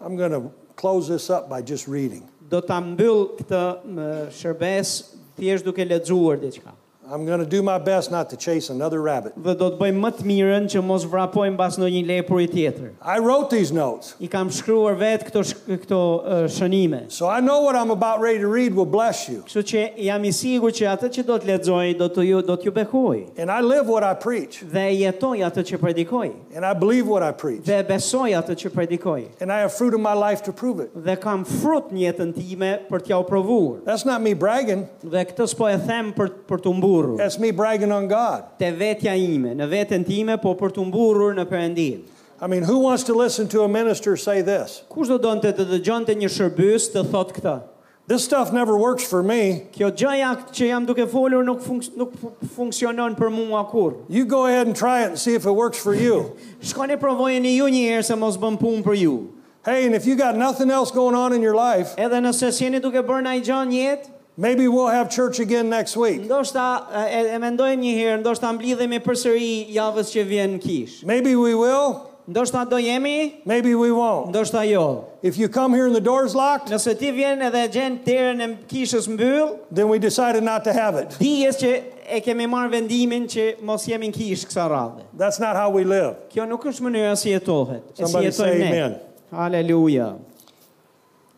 I'm going to close this up by just reading.
do ta mbyll këtë më, shërbes thjesht duke lexuar diçka.
I'm going to do my best not to chase another rabbit.
Dhe do të bëjmë më të mirën që mos vrapojmë mbas ndonjë lepuri tjetër.
I wrote these notes,
I kam shkruar vetë këto shk- këto eh, shënime.
so I know what I'm about ready to read will bless you.
Kështu që jam i sigurt që atë që do të lexoj do të ju do t'ju bekoj
And I live what I preach,
dhe jetoj atë që predikoj
and I believe what I preach,
dhe besoj atë që predikoj
and I have fruit in my life to prove it.
dhe kam frut në jetën time për t'ja u provuar.
That's not me bragging,
Dhe këtë s'po e them për për të mburur.
that's me bragging on God.
Te vetja ime, në veten time, po për të mburur në Perëndin.
I mean, who wants to listen to a minister say this?
Kush do donte të dëgjonte një shërbys të thotë këtë?
This stuff never works for me.
Kjo gjëja që jam duke folur nuk funks nuk fu- funksionon për mua kur.
You go ahead and try it and see if it works for you.
Shkoni provojeni ju një herë se mos bën punë për ju.
Hey, and if you got nothing else going on in your life,
Edhe nëse s'jeni duke bërë ndaj gjë në jetë,
maybe we'll have church again next week.
ndoshta e, e mendojmë një herë, ndoshta mblidhemi përsëri javës që vjen në kish.
Maybe we will,
Ndoshta do jemi,
maybe we won't.
ndoshta jo.
If you come here and the door's locked,
Nëse ti vjen edhe gjen derën e kishës mbyll,
then we decided not to have it.
dijes që e kemi marrë vendimin që mos jemi në kish kësa radhe.
That's not how we live.
Kjo nuk është mënyra si jetohet, e si
Somebody
jetojmë
say
ne.
amen.
Haleluja.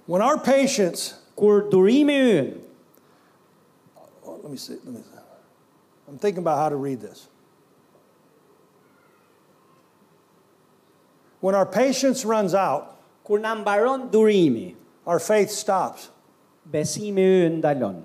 When our patience,
Kur durimi ynë,
oh, let me see, let me see. I'm thinking about how to read this. When our patience runs out,
kur na mbaron durimi,
our faith stops.
besimi ynë ndalon.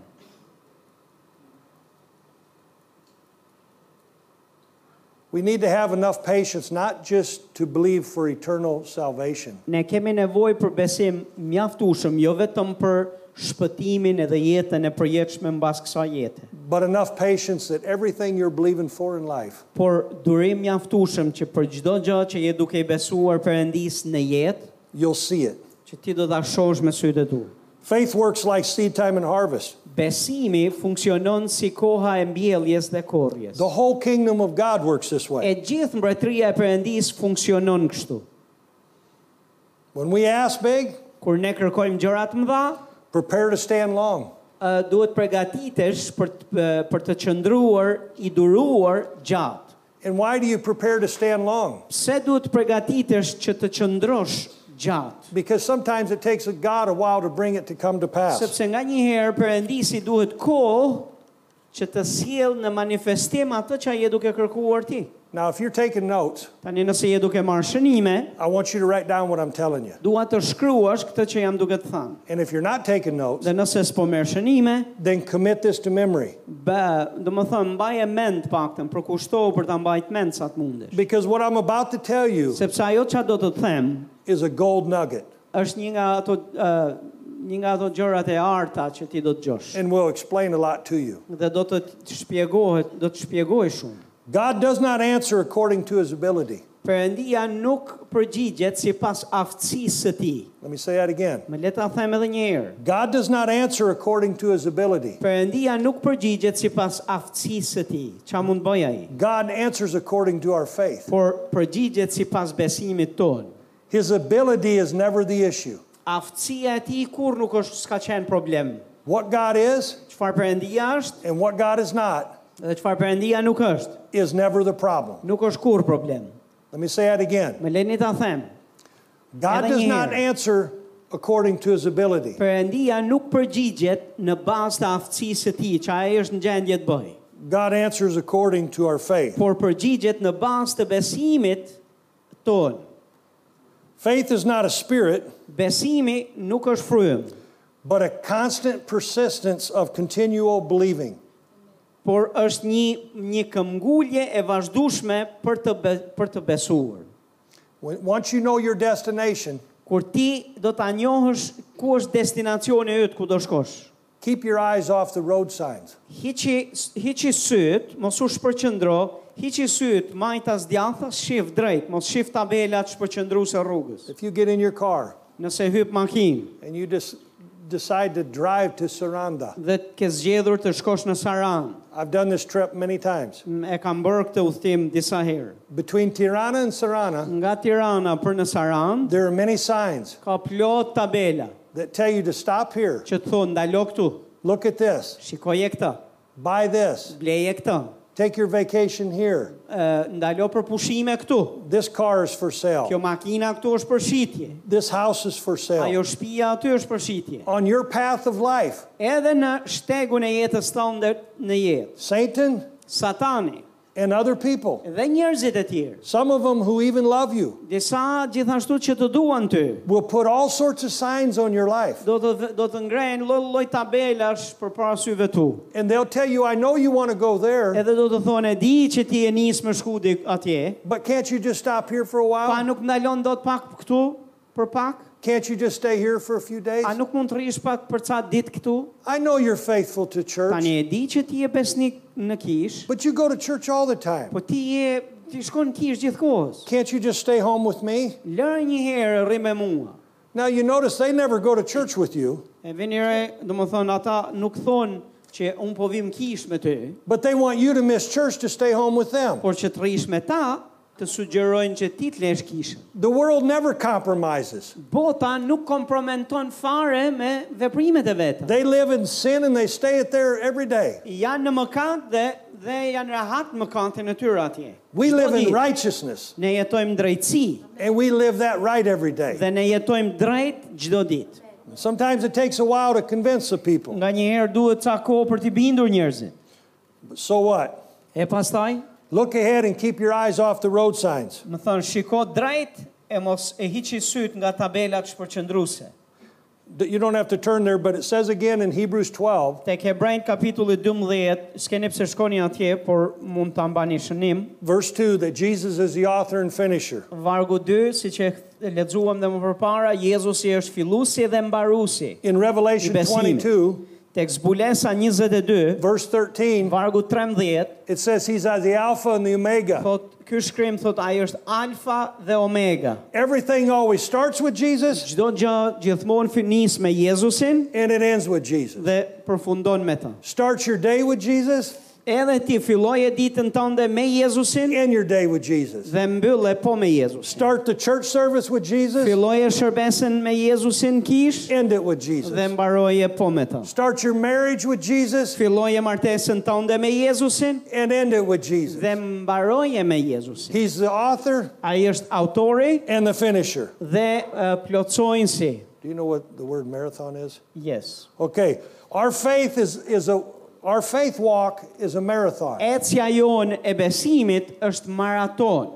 We need to have enough patience not just to believe for eternal salvation,
Ne kemi nevojë për besim mjaftueshëm, jo vetëm për shpëtimin edhe jetën e përjetshme mbas kësaj jete,
but enough patience that everything you're believing for in life
por durim mjaftueshëm që për çdo gjë që je duke i besuar Perëndis në jetë,
you'll see it.
që ti do ta shohësh me sytë e tu.
Faith works like seed time and harvest.
Besimi funksionon si koha e mbjelljes dhe korrjes.
The whole kingdom of God works this
E
way.
gjithë mbretëria e Perëndis funksionon kështu.
When we ask big,
Kur ne kërkojmë gjëra të mëdha,
prepare to stand long.
ë, duhet përgatitesh për të, ë, për të qëndruar i duruar gjatë.
And why do you prepare to stand long?
Pse duhet të përgatitesh që të qëndrosh gjatë?
Because sometimes it takes a God a while to bring it to come to pass.
Sepse nga një herë Perëndisi duhet kohë që të sjell në manifestim atë që ai e duke kërkuar ti.
Now, if you're taking notes,
Tani nëse je duke marrë shënime,
I want you to write down what I'm telling you.
dua të shkruash këtë që jam duke të thënë.
And if you're not taking notes,
Dhe nëse s'po merr shënime,
then commit this to memory.
bë, do më thëmë, mbaj e mend paktën, përkushtohu për ta mbajt mend sa të mundesh.
Because what I'm about to tell you
Sepse ajo që do të të them,
is a gold nugget,
është një nga ato, ë, një nga ato gjërat e arta që ti do të gjosh.
and will explain a lot to you.
Dhe do të të shpjegohet, do të shpjegoj shumë.
God does not answer according to his ability.
Perëndia nuk përgjigjet si pas aftësisë së ti.
Let me say that again.
Më le ta them edhe një herë.
God does not answer according to his ability.
Perëndia nuk përgjigjet si pas aftësisë së ti. Qa mund bëj ai?
God answers according to our faith.
Por përgjigjet si pas besimit tonë.
His ability is never the issue.
Aftësia e ti kur nuk është s'ka qenë problem.
What God is
Çfarë Perëndia është
and what God is not
dhe çfarë Perëndia nuk është.
is never the problem.
Nuk është kur problem.
Let me say that again.
Më leni ta them.
God
Edhe
does
një
not
herë.
answer according to his ability.
Perëndia nuk përgjigjet në bazë të aftësisë së tij, që ai është në gjendje të bëjë,
God answers according to our faith.
por përgjigjet në bazë të besimit tonë.
Faith is not a spirit,
Besimi nuk është frym,
but a constant persistence of continual believing.
por është një një këmbgulje e vazhdueshme për të be, për të besuar.
When, once you know your destination,
Kur ti do ta njohësh ku është destinacioni yt ku do shkosh.
keep your eyes off the road signs.
Hiqi, hiqi syt, mos u shpërqendro, hiqi syt, majtas djathas, shif drejt, mos shif tabelat shpërqendruese rrugës.
If you get in your car
Nëse hyp makinë
and you just decide to drive to Saranda,
dhe të ke zgjedhur të shkosh në Saran,
I've done this trip many times.
m- e kam bërë këtë udhtim disa herë.
Between Tirana and Sarana,
Nga Tirana për në Saran,
there are many signs
ka plot tabela
that tell you to stop here,
që të thonë ndalo këtu,
look at this,
shikoje këtë,
buy this,
bleje këtë,
take your vacation here.
ë, ndalo për pushime këtu.
This car is for
Kjo
sale.
makina këtu është për shitje.
This house is for
Ajo
sale.
shtëpia aty është për shitje.
On your path of life,
Edhe në shtegun e jetës tonë dhe në jetë,
Satan
Satani
and other people,
dhe njerëzit e tjerë,
some of them who even love you,
disa gjithashtu që të duan ty,
will put all sorts of signs on your life.
do të do të ngrenë lloj lloj tabelash përpara syve tu.
And they'll tell you, I know you want to go there,
Edhe do të thonë e di që ti e nis më shku di atje,
but can't you just stop here for a
pa
while?
nuk ndalon dot pak këtu për pak,
Can't you just stay here for a few days?
a nuk mund të rish pak për ca ditë këtu.
I know you're faithful to church,
Tani e di që ti je besnik në kish,
but you go to church all the time.
po ti je ti shkon në kish gjithkohës.
Can't you just stay home with me?
Lërë një herë rri me mua.
Now, you notice they never go to church with you,
E vini re, do më thonë, ata nuk thonë që unë po vim kish me ty,
but they want you to miss church to stay home with them.
por që të rish me ta, të sugjerojnë që ti të lesh kishën.
The world never compromises.
Bota nuk kompromenton fare me veprimet e veta.
They live in sin and they stay it there every day.
Janë në mëkat dhe, dhe janë rehat më kantin e tyre atje.
We
Çdo
live in
ditë,
righteousness
Ne jetojmë drejtësi
and we live that right every day.
dhe ne jetojmë drejt çdo ditë.
Sometimes it takes a while to convince the people.
Nga një herë duhet ca kohë për t'i bindur njerëzit.
But so what?
E pastaj,
Look ahead and keep your eyes off the road signs.
më thënë, shiko drejt e mos e hiqi syt nga tabelat shpërqendruese.
D- You don't have to turn there, but it says again in Hebrews 12
Tek Hebrejt kapitulli 12, s'keni pse shkoni atje, por mund ta mbani shënim.
verse 2 that Jesus is the author and finisher.
Vargu 2, si që e lexuam dhe më përpara, Jezusi është filluesi dhe mbaruesi.
In Revelation
Ibesimit.
22,
Tek zbulesa 22,
verse 13,
vargu 13,
it says he's the Alpha and the Omega.
thot ky shkrim thot ai është alfa dhe omega.
Everything always starts with Jesus
Çdo gjë gjithmonë fi- nis me Jezusin
and it ends with Jesus.
dhe përfundon me të.
Starts your day with Jesus,
Edhe ti filloje ditën tënde me Jezusin
end your day with Jesus.
dhe mbylle po me Jezusin.
Start the church service with Jesus,
Filloje shërbesën me Jezusin kish
end it with
dhe
Jesus.
mbaroje po me të.
Start your marriage with Jesus
Filloje martesën tënde me Jezusin
and end it with Jesus.
dhe mbaroje me Jezusin.
He's the author
Ai është autori
and the finisher.
dhe uh, plotësojnësi.
Do you know what the word marathon is?
Yes.
Okay, our faith is, is a our faith walk is a marathon.
Ecja jonë e besimit është maraton.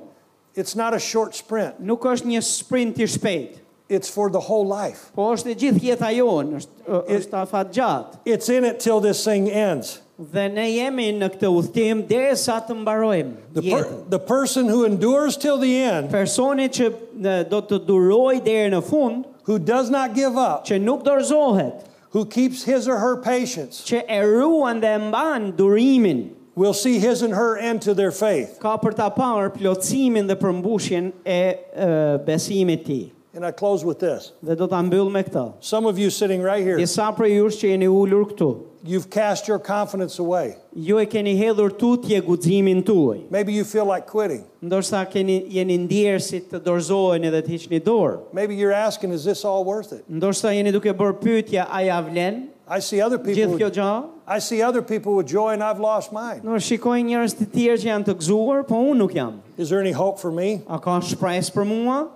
It's not a short sprint.
Nuk është një sprint i shpejt,
It's for the whole life.
po është e gjithë jeta jonë, është ë, është afat gjatë.
It's in it till this thing ends.
Dhe ne jemi në këtë udhtim derisa të mbarojmë
The,
jetën.
per, the person who endures till the end,
Personi që në, do të duroj deri në fund,
who does not give up,
që nuk dorëzohet,
who keeps his or her patience,
që e ruan dhe e mban durimin,
will see his and her end to their faith.
ka për ta parë plotësimin dhe përmbushjen e, e besimit të tij.
And I close with this.
Dhe do ta mbyll me këtë.
Some of you sitting right here,
Disa prej jush që jeni ulur këtu,
you've cast your confidence away.
ju e keni hedhur tutje guximin tuaj.
Maybe you feel like quitting.
Ndoshta keni jeni ndjerë si të dorëzohen edhe të hiqni dorë.
Maybe you're asking, is this all worth it?
Ndoshta jeni duke bërë pyetja a ja vlen
I see other people
gjithë kjo
with
gjë?
I see other people with joy and I've lost mine.
Në shikoj njerëz të tjerë që janë të gëzuar, po unë nuk jam.
Is there any hope for me?
A ka shpresë për mua?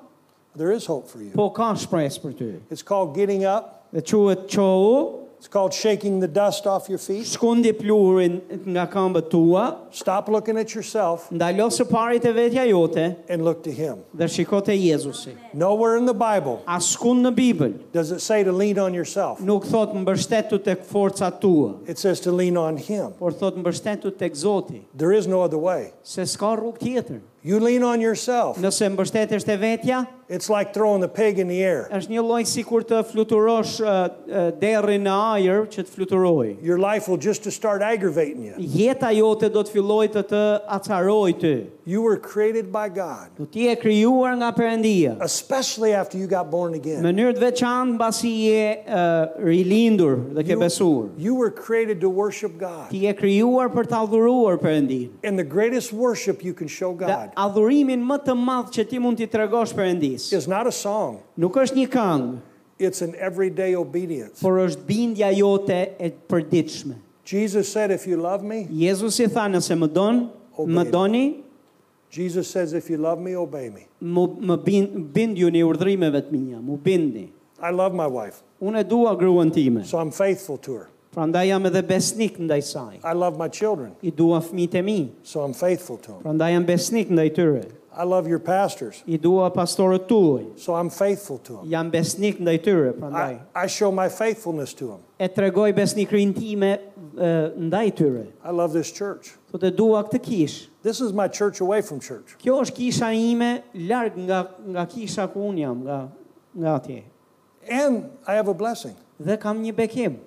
There is hope for you.
Po ka shpresë për ty.
It's called getting up.
Dhe quhet qohu,
It's called shaking the dust off your feet.
shkundi pluhurin nga këmbët tua,
Stop looking at yourself
ndalo së pari te vetja jote
and look to him.
dhe shiko te Jezusi.
Nowhere in the Bible
Askund në Bibël
does it say to lean on yourself.
nuk thot mbështetu tek forca tua,
It says to lean on him.
por thot mbështetu tek Zoti,
There is no other way.
se s'ka rrugë tjetër.
You lean on yourself.
Nëse mbështetesh te vetja,
It's like throwing the pig in the air.
është një lloj sikur të fluturosh uh, derrin në ajër që të fluturoj.
Your life will just to start aggravating you.
Jeta jote do të filloj të të acaroj ty.
You were created by God,
Do ti e krijuar nga Perëndia.
especially after you got born
Në
again.
mënyrë të veçantë mbasi je uh, rilindur dhe ke
You-
besuar.
You were created to worship God.
Ti je krijuar për të adhuruar Perëndin.
And the greatest worship you can show
Dhe
God
adhurimin më të madh që ti mund t'i tregosh Perëndis.
is not a song,
Nuk është një këngë,
it's an everyday obedience.
por është bindja jote e përditshme.
Jesus said, If you love me,
Jezusi tha nëse më don,
Obey
më
me."
doni,
Jesus says, If you love me, obey me.
më, më bind, bind ju një urdhrimeve të mia, më bindni.
I love my wife,
Unë e dua gruan time,
so I'm faithful to her.
prandaj jam edhe besnik ndaj saj.
I love my children,
I dua fëmijët e mi,
so I'm faithful to them.
prandaj jam besnik ndaj tyre.
I love your pastors,
I dua pastorët tuaj,
so I'm faithful to them.
jam besnik ndaj tyre, prandaj
I, I show my faithfulness to them.
e tregoj besnikrin time e, ndaj tyre.
I love this church.
Thotë e dua këtë kishë.
This is my church away from church.
Kjo është kisha ime larg nga nga kisha ku un jam, nga nga atje.
And I have a blessing.
Dhe kam një bekim.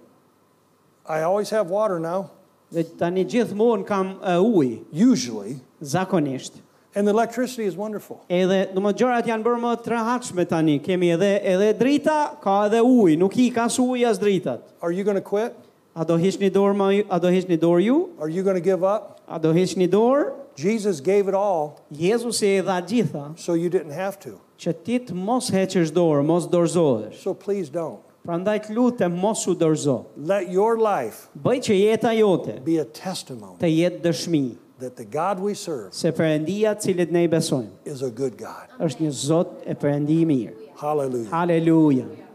I always have water now,
Dhe tani gjithmonë kam uh, ujë,
usually,
zakonisht.
and the electricity is wonderful.
Edhe, do më gjërat janë bërë më të rehatshme tani. Kemi edhe edhe drita, ka edhe ujë, nuk i ka as uji as dritat.
Are you going to quit?
A do hiqni dorë ma, ju- a do hiqni dorë ju?
Are you going to give up?
A do hiqni dorë?
Jesus gave it all
Jezusi e dha gjitha
so you didn't have to.
që ti të mos heqësh dorë, mos dorëzohesh.
So please don't.
Prandaj të lutem mos u dorëzo.
Let your life
Bëj që jeta jote
be a testimony
të jetë dëshmi
that the God we serve
se Perëndia të cilët ne i besojmë
is a good God.
është një Zot e Perëndi i mirë.
Hallelujah.
Haleluja.